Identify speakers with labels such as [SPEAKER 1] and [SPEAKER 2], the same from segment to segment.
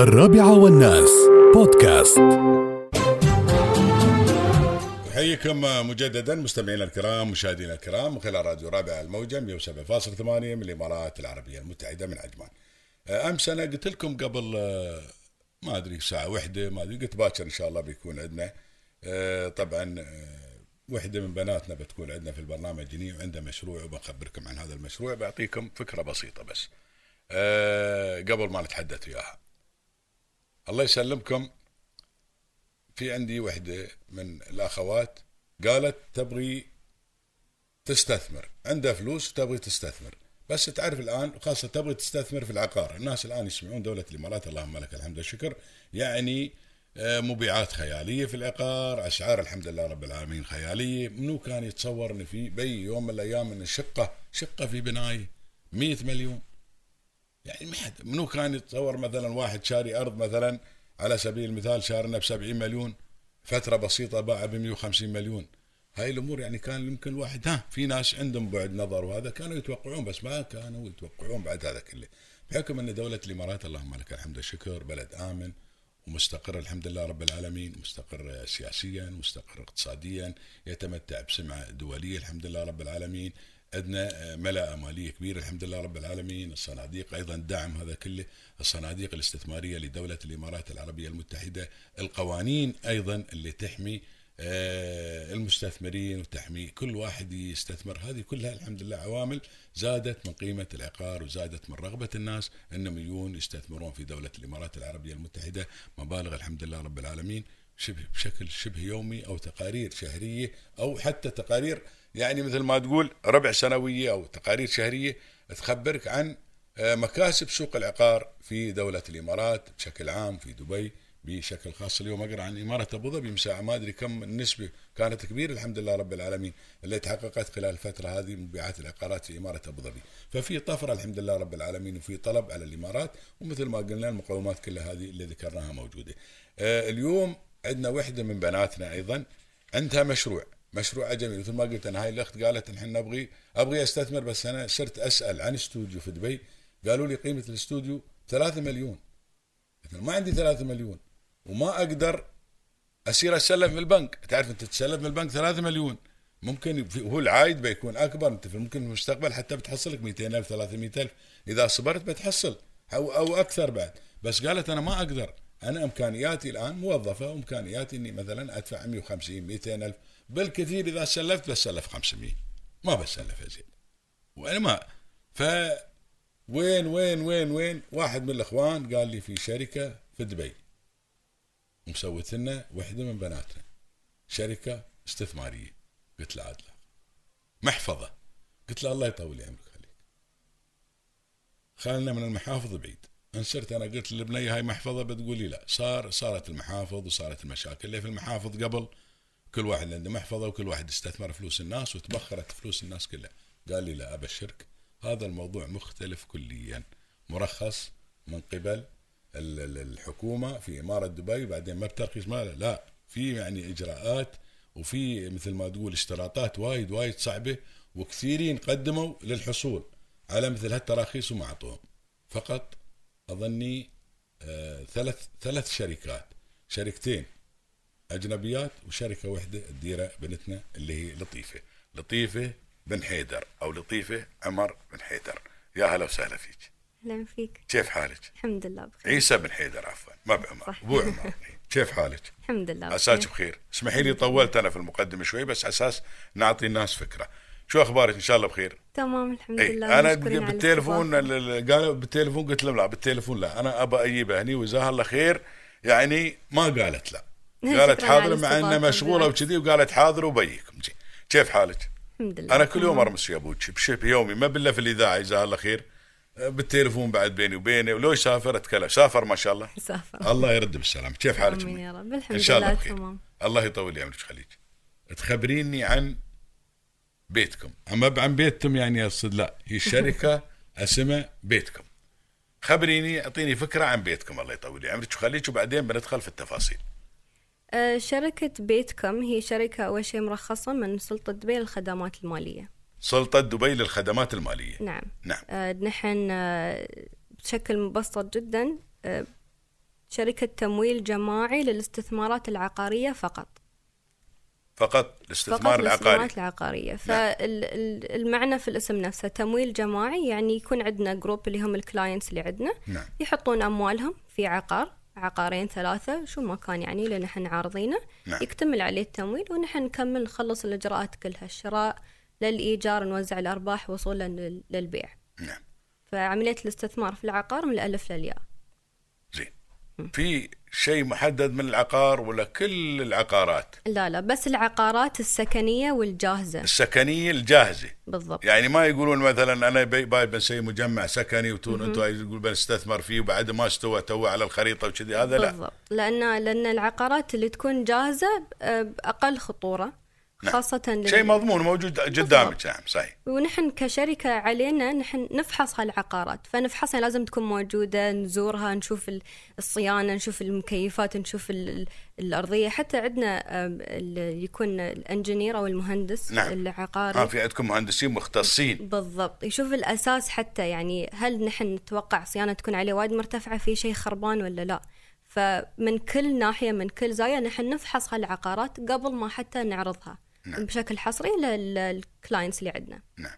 [SPEAKER 1] الرابعة والناس بودكاست
[SPEAKER 2] نحييكم مجددا مستمعينا الكرام مشاهدينا الكرام من خلال راديو رابع الموجة 107.8 من الإمارات العربية المتحدة من عجمان أه، أمس أنا قلت لكم قبل آه، ما أدري ساعة واحدة ما أدري قلت باكر إن شاء الله بيكون عندنا آه، طبعا آه، واحدة من بناتنا بتكون عندنا في البرنامج جني وعندها مشروع وبخبركم عن هذا المشروع بعطيكم فكرة بسيطة بس آه، قبل ما نتحدث وياها الله يسلمكم في عندي وحده من الاخوات قالت تبغي تستثمر عندها فلوس تبغي تستثمر بس تعرف الان خاصه تبغي تستثمر في العقار الناس الان يسمعون دوله الامارات اللهم لك الحمد والشكر يعني آه، مبيعات خياليه في العقار اسعار الحمد لله رب العالمين خياليه منو كان يتصور ان في بي يوم من الايام ان الشقه شقه في بنايه 100 مليون يعني ما حد منو كان يتصور مثلا واحد شاري ارض مثلا على سبيل المثال شارنا ب 70 مليون فتره بسيطه باع ب 150 مليون هاي الامور يعني كان يمكن الواحد ها في ناس عندهم بعد نظر وهذا كانوا يتوقعون بس ما كانوا يتوقعون بعد هذا كله بحكم ان دوله الامارات اللهم لك الحمد والشكر بلد امن ومستقر الحمد لله رب العالمين مستقر سياسيا مستقر اقتصاديا يتمتع بسمعة دولية الحمد لله رب العالمين عندنا آه، ملاءة مالية كبيرة الحمد لله رب العالمين الصناديق أيضا دعم هذا كله الصناديق الاستثمارية لدولة الإمارات العربية المتحدة القوانين أيضا اللي تحمي آه، المستثمرين وتحمي كل واحد يستثمر هذه كلها الحمد لله عوامل زادت من قيمة العقار وزادت من رغبة الناس أنهم يجون يستثمرون في دولة الإمارات العربية المتحدة مبالغ الحمد لله رب العالمين شبه بشكل شبه يومي أو تقارير شهرية أو حتى تقارير يعني مثل ما تقول ربع سنوية أو تقارير شهرية تخبرك عن آه، مكاسب سوق العقار في دولة الإمارات بشكل عام في دبي بشكل خاص اليوم اقرا عن اماره ابو ظبي مساعة ما ادري كم النسبه كانت كبيره الحمد لله رب العالمين اللي تحققت خلال الفتره هذه مبيعات العقارات في اماره ابو ظبي ففي طفره الحمد لله رب العالمين وفي طلب على الامارات ومثل ما قلنا المقومات كلها هذه اللي ذكرناها موجوده آه، اليوم عندنا وحده من بناتنا ايضا عندها مشروع مشروع جميل مثل ما قلت انا هاي الاخت قالت نحن نبغي ابغي استثمر بس انا صرت اسال عن استوديو في دبي قالوا لي قيمه الاستوديو 3 مليون قلت لهم ما عندي 3 مليون وما اقدر اصير اتسلف من البنك، تعرف انت تتسلف من البنك 3 مليون ممكن في- هو العائد بيكون اكبر انت في- ممكن في المستقبل حتى بتحصلك 200000 300000 اذا صبرت بتحصل او او اكثر بعد، بس قالت انا ما اقدر، انا امكانياتي الان موظفه وامكانياتي اني مثلا ادفع 150 200000 بالكثير اذا سلفت بسلف 500 ما بسلف زين وانا ما ف وين وين وين وين واحد من الاخوان قال لي في شركه في دبي ومسوت لنا وحده من بناتنا شركه استثماريه قلت له عاد لا محفظه قلت له الله يطول عمرك خليك خلنا من المحافظ بعيد ان صرت انا قلت للبنيه هاي محفظه بتقولي لا صار صارت المحافظ وصارت المشاكل اللي في المحافظ قبل كل واحد عنده محفظه وكل واحد استثمر فلوس الناس وتبخرت فلوس الناس كلها قال لي لا ابشرك هذا الموضوع مختلف كليا مرخص من قبل ال- ال- الحكومه في اماره دبي وبعدين ما بترخيص ماله لا في يعني اجراءات وفي مثل ما تقول اشتراطات وايد وايد صعبه وكثيرين قدموا للحصول على مثل هالتراخيص وما اعطوهم فقط اظني آه، ثلاث ثلاث شركات شركتين اجنبيات وشركه واحده تديرها بنتنا اللي هي لطيفه لطيفه بن حيدر او لطيفه عمر بن حيدر يا هلا وسهلا فيك
[SPEAKER 3] اهلا فيك
[SPEAKER 2] كيف حالك
[SPEAKER 3] الحمد لله بخير
[SPEAKER 2] عيسى بن حيدر عفوا ما بعمر
[SPEAKER 3] صح.
[SPEAKER 2] ابو عمر كيف حالك
[SPEAKER 3] الحمد لله
[SPEAKER 2] عساك
[SPEAKER 3] بخير.
[SPEAKER 2] بخير اسمحي لي طولت انا في المقدمه شوي بس اساس نعطي الناس فكره شو اخبارك ان شاء الله بخير
[SPEAKER 3] تمام الحمد لله
[SPEAKER 2] اي انا
[SPEAKER 3] مشكورين على
[SPEAKER 2] إيه، بالتليفون
[SPEAKER 3] الاستضافة.
[SPEAKER 2] ال- ال- قالوا بالتليفون قلت لهم لا بالتليفون لا انا ابى اجيبها هني وجزاها الله خير يعني ما قالت لا قالت
[SPEAKER 3] إيه، شكراً
[SPEAKER 2] حاضر
[SPEAKER 3] على
[SPEAKER 2] مع انها
[SPEAKER 3] الاستضافة،
[SPEAKER 2] مشغوله
[SPEAKER 3] بالعكس.
[SPEAKER 2] وكذي وقالت حاضر وبيكم جي. كيف حالك؟
[SPEAKER 3] الحمد لله
[SPEAKER 2] انا كل يوم
[SPEAKER 3] تمام.
[SPEAKER 2] ارمس يا ابوك بش- بيومي ما بالله في الاذاعه جزاها الله خير أه، بالتليفون بعد بيني وبينه ولو يسافر اتكلم سافر ما شاء الله
[SPEAKER 3] مسافة
[SPEAKER 2] الله يرد بالسلام كيف حالك؟
[SPEAKER 3] امين
[SPEAKER 2] أمي؟
[SPEAKER 3] يا رب الحمد
[SPEAKER 2] ان شاء الله
[SPEAKER 3] لله
[SPEAKER 2] بخير
[SPEAKER 3] تمام
[SPEAKER 2] الله يطول لي عمرك خليك تخبريني عن بيتكم اما عن بيتكم يعني اقصد لا هي الشركه اسمها بيتكم خبريني اعطيني فكره عن بيتكم الله يطول لي عمرك وخليك وبعدين بندخل في التفاصيل
[SPEAKER 3] آه، شركة بيتكم هي شركة أول شيء مرخصة من سلطة دبي للخدمات المالية
[SPEAKER 2] سلطه دبي للخدمات الماليه
[SPEAKER 3] نعم
[SPEAKER 2] نعم
[SPEAKER 3] آه، نحن آه، بشكل مبسط جدا آه، شركة تمويل جماعي للاستثمارات العقارية فقط
[SPEAKER 2] فقط
[SPEAKER 3] فقط
[SPEAKER 2] الاستثمار العقاري نعم.
[SPEAKER 3] الاستثمارات العقارية فالمعنى في الاسم نفسه تمويل جماعي يعني يكون عندنا جروب اللي هم الكلاينتس اللي عندنا
[SPEAKER 2] نعم.
[SPEAKER 3] يحطون أموالهم في عقار عقارين ثلاثة شو ما كان يعني اللي نحن عارضينه
[SPEAKER 2] نعم.
[SPEAKER 3] يكتمل عليه التمويل ونحن نكمل نخلص الإجراءات كلها الشراء للإيجار نوزع الأرباح وصولا لل- للبيع
[SPEAKER 2] نعم
[SPEAKER 3] فعملية الاستثمار في العقار من الألف للياء
[SPEAKER 2] زين في شيء محدد من العقار ولا كل العقارات
[SPEAKER 3] لا لا بس العقارات السكنية والجاهزة
[SPEAKER 2] السكنيه الجاهزه
[SPEAKER 3] بالضبط
[SPEAKER 2] يعني ما يقولون مثلا انا بي- باي بنسوي مجمع سكني وتون انتم يقول بنستثمر فيه وبعد ما استوى تو على الخريطه وكذي هذا لا
[SPEAKER 3] بالضبط لأن لأن العقارات اللي تكون جاهزة آه، بأقل خطورة
[SPEAKER 2] نعم.
[SPEAKER 3] خاصة لل-
[SPEAKER 2] شيء مضمون موجود قدامك نعم صحيح
[SPEAKER 3] ونحن كشركة علينا نحن نفحص هالعقارات فنفحصها لازم تكون موجودة نزورها نشوف ال- الصيانة نشوف المكيفات نشوف ال- ال- الأرضية حتى عندنا آم، ال- يكون الإنجنير أو المهندس
[SPEAKER 2] نعم.
[SPEAKER 3] العقاري
[SPEAKER 2] ها في عندكم مهندسين مختصين
[SPEAKER 3] بالضبط يشوف الأساس حتى يعني هل نحن نتوقع صيانة تكون عليه وايد مرتفعة في شيء خربان ولا لا فمن كل ناحية من كل زاوية نحن نفحص هالعقارات قبل ما حتى نعرضها
[SPEAKER 2] نعم.
[SPEAKER 3] نعم. بشكل حصري للكلاينتس اللي عندنا
[SPEAKER 2] نعم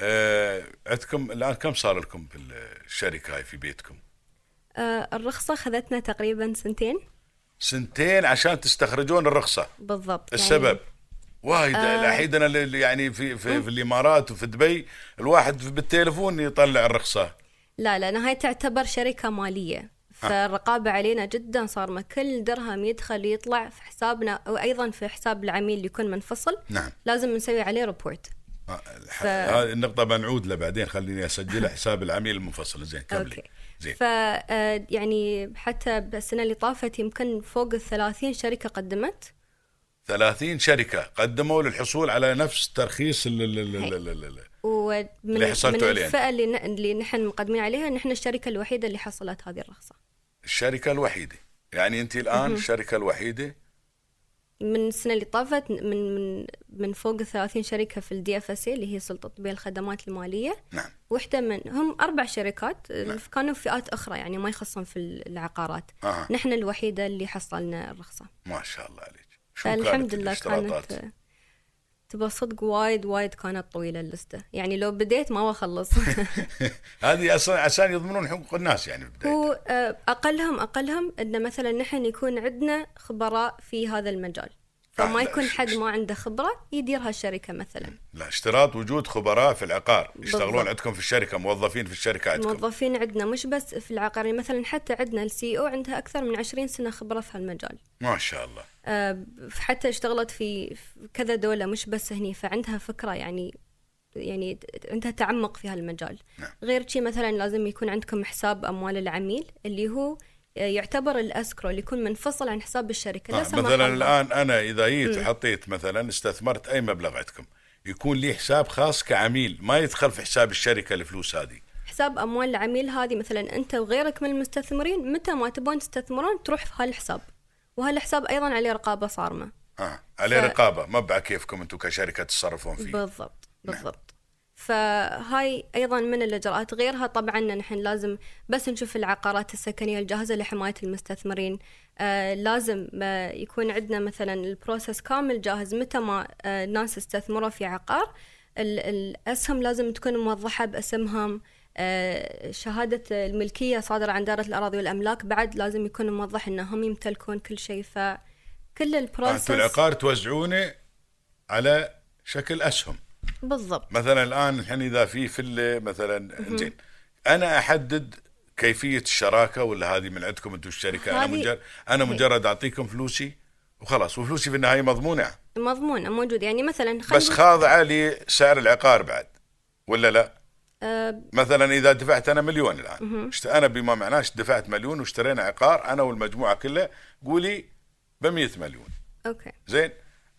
[SPEAKER 2] آه، عندكم الان كم صار لكم في الشركه هاي في بيتكم؟
[SPEAKER 3] آه، الرخصة خذتنا تقريبا سنتين
[SPEAKER 2] سنتين عشان تستخرجون الرخصه
[SPEAKER 3] بالضبط
[SPEAKER 2] السبب
[SPEAKER 3] يعني
[SPEAKER 2] وايد الحين انا ل- يعني في في, في الامارات وفي دبي الواحد بالتليفون يطلع الرخصه
[SPEAKER 3] لا لا أنا هاي تعتبر شركة مالية فالرقابة علينا جدا صارمة كل درهم يدخل يطلع في حسابنا وأيضا في حساب العميل اللي يكون منفصل
[SPEAKER 2] نعم.
[SPEAKER 3] لازم نسوي عليه ريبورت
[SPEAKER 2] آه، الح-
[SPEAKER 3] ف-
[SPEAKER 2] هذه النقطة بنعود لها بعدين خليني اسجلها حساب العميل المنفصل زين كملي
[SPEAKER 3] اوكي
[SPEAKER 2] زين
[SPEAKER 3] ف آه، يعني حتى بالسنه اللي طافت يمكن فوق ال 30 شركه قدمت
[SPEAKER 2] 30 شركة قدموا للحصول على نفس ترخيص ال ال ال ال ال ال
[SPEAKER 3] ومن
[SPEAKER 2] اللي حصلتوا
[SPEAKER 3] من
[SPEAKER 2] عليها.
[SPEAKER 3] الفئه اللي, ن- اللي نحن مقدمين عليها نحن الشركه الوحيده اللي حصلت هذه الرخصه
[SPEAKER 2] الشركة الوحيدة يعني انت الان الشركة الوحيدة
[SPEAKER 3] من السنه اللي طافت من من من فوق ال 30 شركه في الدي اف اس اللي هي سلطه تطبيق الخدمات الماليه
[SPEAKER 2] نعم
[SPEAKER 3] واحدة من هم أربع شركات كانوا فئات أخرى يعني ما يخصهم في العقارات
[SPEAKER 2] أها.
[SPEAKER 3] نحن الوحيدة اللي حصلنا الرخصة
[SPEAKER 2] آه. ما شاء الله عليك شو كانت
[SPEAKER 3] فالحمد لله
[SPEAKER 2] الاشتراطات؟
[SPEAKER 3] كانت تبى صدق وايد وايد كانت طويلة اللستة يعني لو بديت ما بخلص
[SPEAKER 2] هذه اصلا عشان يضمنون حقوق الناس يعني بالبداية
[SPEAKER 3] هو آه، أقلهم أقلهم أن مثلا نحن يكون عندنا خبراء في هذا المجال
[SPEAKER 2] آه، لا،
[SPEAKER 3] فما يكون
[SPEAKER 2] ش-
[SPEAKER 3] حد
[SPEAKER 2] ش-
[SPEAKER 3] ما عنده خبرة يدير هالشركة مثلا
[SPEAKER 2] لا اشتراط وجود خبراء في العقار يشتغلون
[SPEAKER 3] بالضبط.
[SPEAKER 2] عندكم في الشركة موظفين في الشركة عندكم
[SPEAKER 3] الموظفين عندنا مش بس في العقار يعني مثلا حتى عندنا السي او عندها أكثر من عشرين سنة خبرة في هالمجال
[SPEAKER 2] ما شاء الله
[SPEAKER 3] آه، حتى اشتغلت في في كذا دولة مش بس هني فعندها فكرة يعني يعني ت- عندها تعمق في هالمجال
[SPEAKER 2] نعم.
[SPEAKER 3] غير شي مثلا لازم يكون عندكم حساب أموال العميل اللي هو آه، يعتبر الأسكرو اللي يكون منفصل عن حساب الشركة
[SPEAKER 2] آه،
[SPEAKER 3] لا سمح
[SPEAKER 2] مثلا
[SPEAKER 3] الله
[SPEAKER 2] الان انا اذا جيت وحطيت مثلا استثمرت اي مبلغ عندكم يكون لي حساب خاص كعميل ما يدخل في حساب الشركه الفلوس هذه
[SPEAKER 3] حساب أموال العميل هذه مثلا أنت وغيرك من المستثمرين متى ما تبون تستثمرون تروح في هالحساب وهالحساب أيضا عليه رقابة صارمة
[SPEAKER 2] اه عليه
[SPEAKER 3] ف-
[SPEAKER 2] رقابه ما بقى كيفكم انتم كشركه تتصرفون فيه نعم.
[SPEAKER 3] بالضبط بالضبط فهاي ايضا من الاجراءات غيرها طبعا نحن لازم بس نشوف العقارات السكنيه الجاهزه لحمايه المستثمرين آه لازم آه يكون عندنا مثلا البروسيس كامل جاهز متى ما آه الناس استثمروا في عقار ال- الاسهم لازم تكون موضحه باسمهم آه شهاده الملكيه صادره عن دائره الاراضي والاملاك بعد لازم يكون موضح انهم يمتلكون كل شيء فكل
[SPEAKER 2] آه، انتم
[SPEAKER 3] البروسيس
[SPEAKER 2] العقار توزعونه على شكل اسهم
[SPEAKER 3] بالضبط
[SPEAKER 2] مثلا الان الحين اذا في فله مثلا زين انا احدد كيفيه الشراكه ولا هذه من عندكم انتم الشركه انا
[SPEAKER 3] هذه- إيه.
[SPEAKER 2] مجرد انا
[SPEAKER 3] هي.
[SPEAKER 2] مجرد اعطيكم فلوسي وخلاص وفلوسي في النهايه مضمونه
[SPEAKER 3] مضمونه موجود يعني مثلا
[SPEAKER 2] بس
[SPEAKER 3] خلينا-
[SPEAKER 2] خاضعه لسعر العقار بعد ولا لا؟
[SPEAKER 3] آه،
[SPEAKER 2] مثلا اذا دفعت انا مليون الان اشت- انا بما معناه اش- دفعت مليون واشترينا عقار انا والمجموعه كلها قولي ب 100 مليون
[SPEAKER 3] اوكي
[SPEAKER 2] زين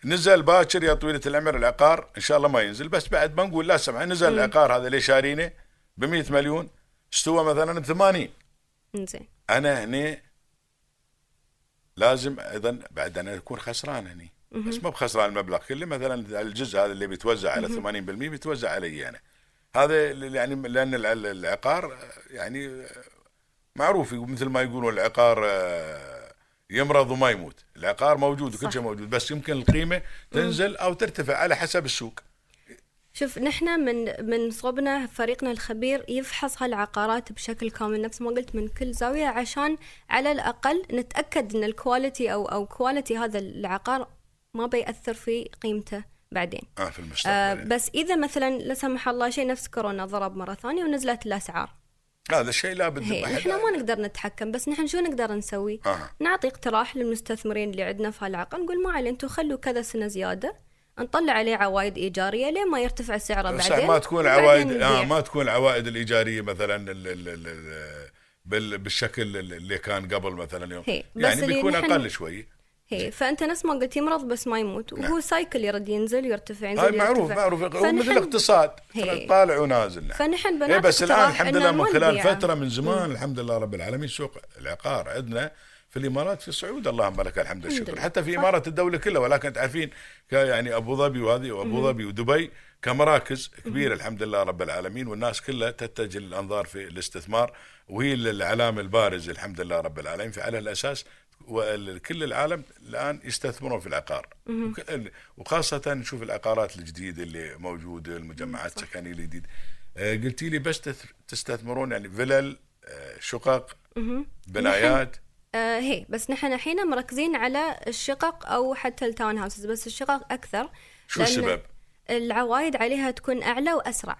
[SPEAKER 2] نزل باكر يا طويله العمر العقار ان شاء الله ما ينزل بس بعد ما نقول لا سمح نزل العقار هذا اللي شارينه ب 100 مليون استوى مثلا ب 80
[SPEAKER 3] انزين
[SPEAKER 2] انا هنا لازم ايضا بعد انا اكون خسران هني بس ما بخسران المبلغ كله مثلا الجزء هذا اللي بيتوزع على 80% بيتوزع علي انا هذا ال- يعني لان الع- العقار يعني معروف يقول- مثل ما يقولوا العقار آه، يمرض وما يموت العقار موجود وكل
[SPEAKER 3] صح.
[SPEAKER 2] شيء موجود بس يمكن القيمة تنزل أو ترتفع على حسب السوق
[SPEAKER 3] شوف نحن من من صوبنا فريقنا الخبير يفحص هالعقارات بشكل كامل نفس ما قلت من كل زاويه عشان على الاقل نتاكد ان الكواليتي او او كواليتي هذا العقار ما بياثر في قيمته بعدين
[SPEAKER 2] آه في المستقبل
[SPEAKER 3] آه
[SPEAKER 2] يعني.
[SPEAKER 3] بس اذا مثلا لا سمح الله شيء نفس كورونا ضرب مره ثانيه ونزلت الاسعار
[SPEAKER 2] هذا الشيء لابد
[SPEAKER 3] هي
[SPEAKER 2] ما حد-
[SPEAKER 3] نحن ما نقدر نتحكم بس نحن شو نقدر نسوي؟
[SPEAKER 2] آه.
[SPEAKER 3] نعطي اقتراح للمستثمرين اللي عندنا في هالعقد نقول ما عليه انتم خلوا كذا سنه زياده نطلع عليه عوايد ايجاريه لين ما يرتفع سعره
[SPEAKER 2] بس
[SPEAKER 3] بعدين
[SPEAKER 2] ما تكون
[SPEAKER 3] وبعدين
[SPEAKER 2] عوائد
[SPEAKER 3] نبيع.
[SPEAKER 2] آه ما تكون العوائد الايجاريه مثلا ال ال ال ال بال بالشكل اللي كان قبل مثلا يوم
[SPEAKER 3] هي. بس
[SPEAKER 2] يعني
[SPEAKER 3] اللي
[SPEAKER 2] بيكون
[SPEAKER 3] نحن-
[SPEAKER 2] اقل شوي
[SPEAKER 3] هي فانت نفس ما قلت يمرض بس ما يموت وهو
[SPEAKER 2] نعم.
[SPEAKER 3] سايكل يرد ينزل يرتفع ينزل
[SPEAKER 2] هاي معروف
[SPEAKER 3] يرتفع.
[SPEAKER 2] معروف هو مثل
[SPEAKER 3] فنحن-
[SPEAKER 2] الاقتصاد
[SPEAKER 3] هي.
[SPEAKER 2] طالع ونازل نعم.
[SPEAKER 3] فنحن
[SPEAKER 2] إيه
[SPEAKER 3] بنات
[SPEAKER 2] بس الان
[SPEAKER 3] اقتراح
[SPEAKER 2] الحمد
[SPEAKER 3] إن
[SPEAKER 2] لله من خلال
[SPEAKER 3] نودع.
[SPEAKER 2] فتره من زمان الحمد لله رب العالمين سوق العقار عندنا في الامارات في السعود اللهم لك الحمد والشكر
[SPEAKER 3] لله.
[SPEAKER 2] حتى في
[SPEAKER 3] صح.
[SPEAKER 2] اماره الدوله كلها ولكن تعرفين ك- يعني ابو ظبي وهذه وابو ظبي ودبي كمراكز كبيره الحمد لله رب العالمين والناس كلها تتجه للانظار في الاستثمار وهي العلامه البارزه الحمد لله رب العالمين فعلى الاساس وال- كل العالم الان يستثمرون في العقار وك- وخاصه نشوف العقارات الجديده اللي موجوده المجمعات السكنيه الجديده آه، قلتي لي بس تث- تستثمرون يعني فلل آه، شقق بنايات
[SPEAKER 3] آه هي بس نحن الحين مركزين على الشقق او حتى التاون هاوسز بس الشقق اكثر
[SPEAKER 2] شو
[SPEAKER 3] لأن
[SPEAKER 2] السبب؟
[SPEAKER 3] العوايد عليها تكون اعلى واسرع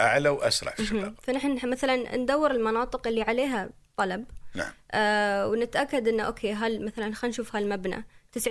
[SPEAKER 2] اعلى واسرع في الشقق
[SPEAKER 3] فنحن مثلا ندور المناطق اللي عليها طلب
[SPEAKER 2] نعم
[SPEAKER 3] آه ونتاكد انه اوكي هل مثلا خلينا نشوف هالمبنى 90%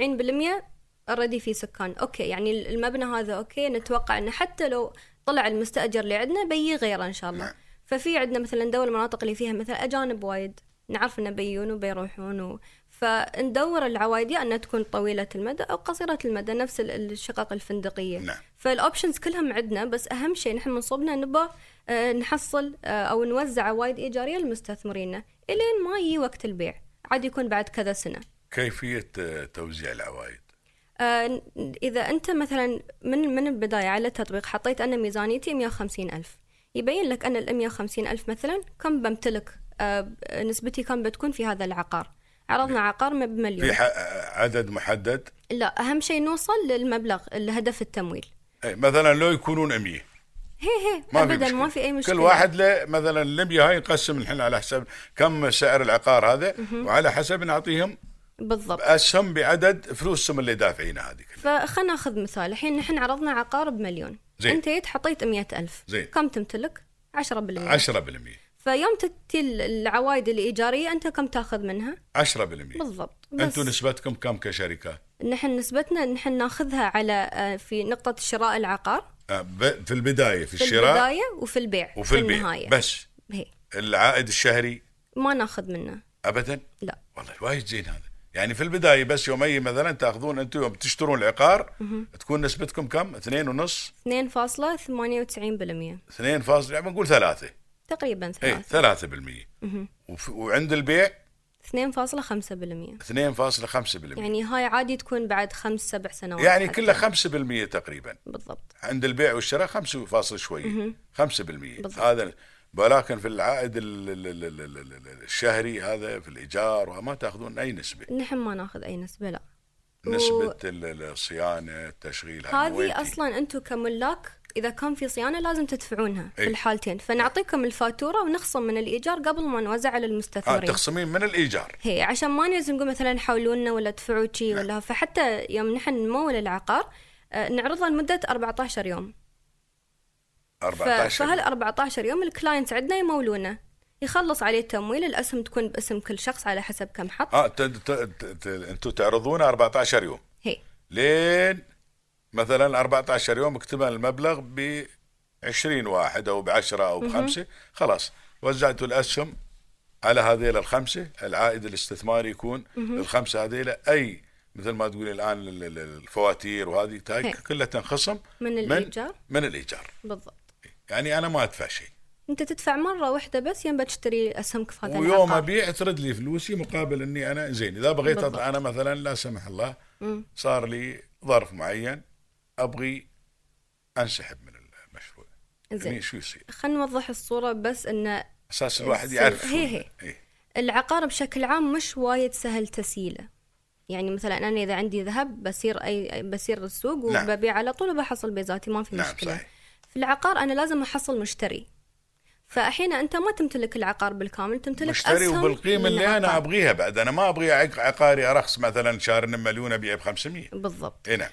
[SPEAKER 3] اوريدي في سكان اوكي يعني المبنى هذا اوكي نتوقع انه حتى لو طلع المستاجر اللي عندنا بيجي غيره ان شاء الله
[SPEAKER 2] نعم.
[SPEAKER 3] ففي عندنا مثلا دول المناطق اللي فيها مثلا اجانب وايد نعرف انه بيجون وبيروحون و... فندور العوايد يا انها تكون طويله المدى او قصيره المدى نفس ال- الشقق الفندقيه
[SPEAKER 2] نعم.
[SPEAKER 3] فالاوبشنز كلهم عندنا بس اهم شيء نحن من صوبنا نبى آه، نحصل آه، او نوزع عوايد ايجاريه لمستثمرينا الين ما يجي وقت البيع عاد يكون بعد كذا سنه
[SPEAKER 2] كيفيه آه، توزيع العوائد
[SPEAKER 3] آه، ن- اذا انت مثلا من من البدايه على التطبيق حطيت انا ميزانيتي 150 الف يبين لك ان ال 150 الف مثلا كم بمتلك آه، نسبتي كم بتكون في هذا العقار عرضنا عقار م-
[SPEAKER 2] نعم. في
[SPEAKER 3] بمليون
[SPEAKER 2] ح- آه، عدد محدد
[SPEAKER 3] لا اهم شيء نوصل للمبلغ الهدف التمويل
[SPEAKER 2] أي، مثلا لو يكونون 100
[SPEAKER 3] هي هي
[SPEAKER 2] ما في
[SPEAKER 3] ابدا
[SPEAKER 2] مشكلة.
[SPEAKER 3] ما في اي مشكله
[SPEAKER 2] كل واحد له مثلا اللمية هاي نقسم الحين على حسب كم سعر العقار هذا وعلى حسب نعطيهم
[SPEAKER 3] بالضبط
[SPEAKER 2] اسهم بعدد فلوسهم اللي دافعينها هذه كلها.
[SPEAKER 3] فخلنا ناخذ مثال الحين نحن عرضنا عقار بمليون
[SPEAKER 2] زين.
[SPEAKER 3] انت جيت حطيت مية ألف
[SPEAKER 2] زين.
[SPEAKER 3] كم تمتلك 10%
[SPEAKER 2] 10%
[SPEAKER 3] فيوم تتي ال- العوايد الإيجارية أنت كم تاخذ منها
[SPEAKER 2] 10%
[SPEAKER 3] بالضبط
[SPEAKER 2] انتم نسبتكم كم كشركات؟
[SPEAKER 3] نحن نسبتنا نحن ناخذها على آه، في نقطة شراء العقار
[SPEAKER 2] آه، ب- في البدايه في
[SPEAKER 3] في
[SPEAKER 2] الشراء
[SPEAKER 3] البداية وفي البيع
[SPEAKER 2] وفي البيع
[SPEAKER 3] النهاية
[SPEAKER 2] بس
[SPEAKER 3] هي.
[SPEAKER 2] العائد الشهري
[SPEAKER 3] ما ناخذ منه
[SPEAKER 2] ابدا
[SPEAKER 3] لا
[SPEAKER 2] والله وايد زين هذا يعني في البدايه بس يومي مثلا تاخذون انتم يوم تشترون العقار تكون نسبتكم كم؟ اثنين ونص
[SPEAKER 3] 2.98%
[SPEAKER 2] اثنين فاصل يعني بنقول ثلاثه
[SPEAKER 3] تقريبا
[SPEAKER 2] اي
[SPEAKER 3] ثلاث
[SPEAKER 2] 3% وف- وعند البيع
[SPEAKER 3] 2.5%
[SPEAKER 2] 2.5%
[SPEAKER 3] يعني هاي عادي تكون بعد خمس سبع سنوات
[SPEAKER 2] يعني
[SPEAKER 3] حتى.
[SPEAKER 2] كله 5% تقريبا
[SPEAKER 3] بالضبط
[SPEAKER 2] عند البيع والشراء 5 فاصل شوي 5%
[SPEAKER 3] بالضبط.
[SPEAKER 2] هذا ولكن في العائد ال- ال- ال- ال- ال- ال- الشهري هذا في الايجار وما تاخذون اي نسبه
[SPEAKER 3] نحن ما ناخذ اي نسبه لا
[SPEAKER 2] نسبه ال- ال- الصيانه التشغيل هاي وين تي؟
[SPEAKER 3] هذه اصلا انتم كملاك اذا كان في صيانه لازم تدفعونها
[SPEAKER 2] إيه.
[SPEAKER 3] في الحالتين فنعطيكم الفاتوره ونخصم من الايجار قبل ما نوزع على
[SPEAKER 2] آه
[SPEAKER 3] المستثمرين
[SPEAKER 2] تخصمين من الايجار
[SPEAKER 3] هي عشان ما نلزم نقول مثلا حولوا لنا ولا دفعوا شي
[SPEAKER 2] نعم.
[SPEAKER 3] ولا فحتى يوم نحن نمول العقار آه، نعرضها لمده 14 يوم ف-
[SPEAKER 2] 14
[SPEAKER 3] فهال 14 يوم الكلاينتس عندنا يمولونه يخلص عليه التمويل الاسهم تكون باسم كل شخص على حسب كم حط
[SPEAKER 2] اه ت- ت- ت- ت- انتم تعرضون 14 يوم
[SPEAKER 3] هي
[SPEAKER 2] لين مثلا 14 يوم اكتمل المبلغ ب 20 واحد او ب 10 او بخمسه خلاص وزعتوا الاسهم على هذيل الخمسه العائد الاستثماري يكون للخمسه هذيل اي مثل ما تقولي الان ال- ال- الفواتير وهذه هاي
[SPEAKER 3] هي.
[SPEAKER 2] كلها تنخصم
[SPEAKER 3] من الإيجار؟
[SPEAKER 2] من, من الايجار
[SPEAKER 3] بالضبط
[SPEAKER 2] يعني انا ما ادفع شيء
[SPEAKER 3] انت تدفع مره واحده بس يوم بتشتري اسهمك في هذا
[SPEAKER 2] ويوم
[SPEAKER 3] العقار
[SPEAKER 2] ابيع ترد لي فلوسي مقابل اني انا زين اذا بغيت
[SPEAKER 3] بالضبط.
[SPEAKER 2] أطلع انا مثلا لا سمح الله صار لي ظرف معين ابغي انسحب من المشروع
[SPEAKER 3] زين.
[SPEAKER 2] يعني شو يصير؟
[SPEAKER 3] خلينا نوضح الصورة بس أن
[SPEAKER 2] اساس الواحد يعرف
[SPEAKER 3] هي هي.
[SPEAKER 2] إيه.
[SPEAKER 3] العقار بشكل عام مش وايد سهل تسييله يعني مثلا انا اذا عندي ذهب بصير اي بصير السوق
[SPEAKER 2] نعم.
[SPEAKER 3] وببيع على طول وبحصل بيزاتي ما في
[SPEAKER 2] نعم،
[SPEAKER 3] مشكله
[SPEAKER 2] صحيح.
[SPEAKER 3] في العقار انا لازم احصل مشتري فالحين انت ما تمتلك العقار بالكامل تمتلك
[SPEAKER 2] مشتري
[SPEAKER 3] اسهم
[SPEAKER 2] وبالقيمه
[SPEAKER 3] من
[SPEAKER 2] اللي انا
[SPEAKER 3] العقار.
[SPEAKER 2] ابغيها بعد انا ما ابغي عق- عقاري ارخص مثلا شارن مليون ابيعه ب 500
[SPEAKER 3] بالضبط
[SPEAKER 2] اي نعم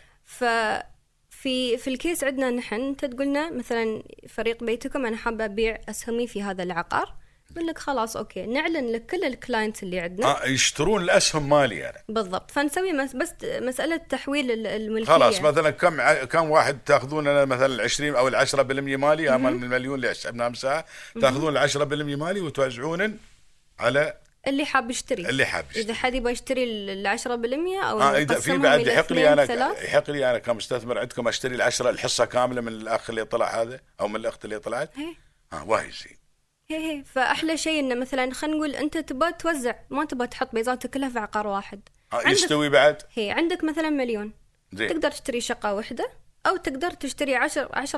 [SPEAKER 3] ففي في الكيس عندنا نحن انت تقولنا مثلا فريق بيتكم انا حابه ابيع اسهمي في هذا العقار نقول لك خلاص اوكي نعلن لك كل الكلاينتس اللي عندنا
[SPEAKER 2] آه يشترون الاسهم مالي انا
[SPEAKER 3] بالضبط فنسوي مس- بس مسألة تحويل ال- الملكية
[SPEAKER 2] خلاص مثلا كم ع- كم واحد تاخذون انا مثلا ال 20 او ال 10% مالي اما من المليون اللي حسبناه مساها تاخذون ال 10% مالي وتوزعون على
[SPEAKER 3] اللي حاب يشتري
[SPEAKER 2] اللي حاب يشتري.
[SPEAKER 3] إذا حد يبغى يشتري ال 10% أو
[SPEAKER 2] اه اذا في
[SPEAKER 3] يقسمهم
[SPEAKER 2] بعد
[SPEAKER 3] إلى
[SPEAKER 2] يحق لي
[SPEAKER 3] اثنين،
[SPEAKER 2] انا
[SPEAKER 3] ثلاث
[SPEAKER 2] يحق لي انا كمستثمر عندكم اشتري العشرة الحصه كامله من الاخ اللي طلع هذا او من الاخت اللي طلعت
[SPEAKER 3] هي
[SPEAKER 2] اه وايد زين
[SPEAKER 3] هي هي فأحلى شيء إنه مثلا خلينا نقول أنت تبغى توزع ما تبغى تحط بيزاتك كلها في عقار واحد
[SPEAKER 2] آه
[SPEAKER 3] عندك-
[SPEAKER 2] يستوي إيه. بعد
[SPEAKER 3] هي عندك مثلا مليون
[SPEAKER 2] زين
[SPEAKER 3] تقدر تشتري شقة واحدة أو تقدر تشتري 10 10%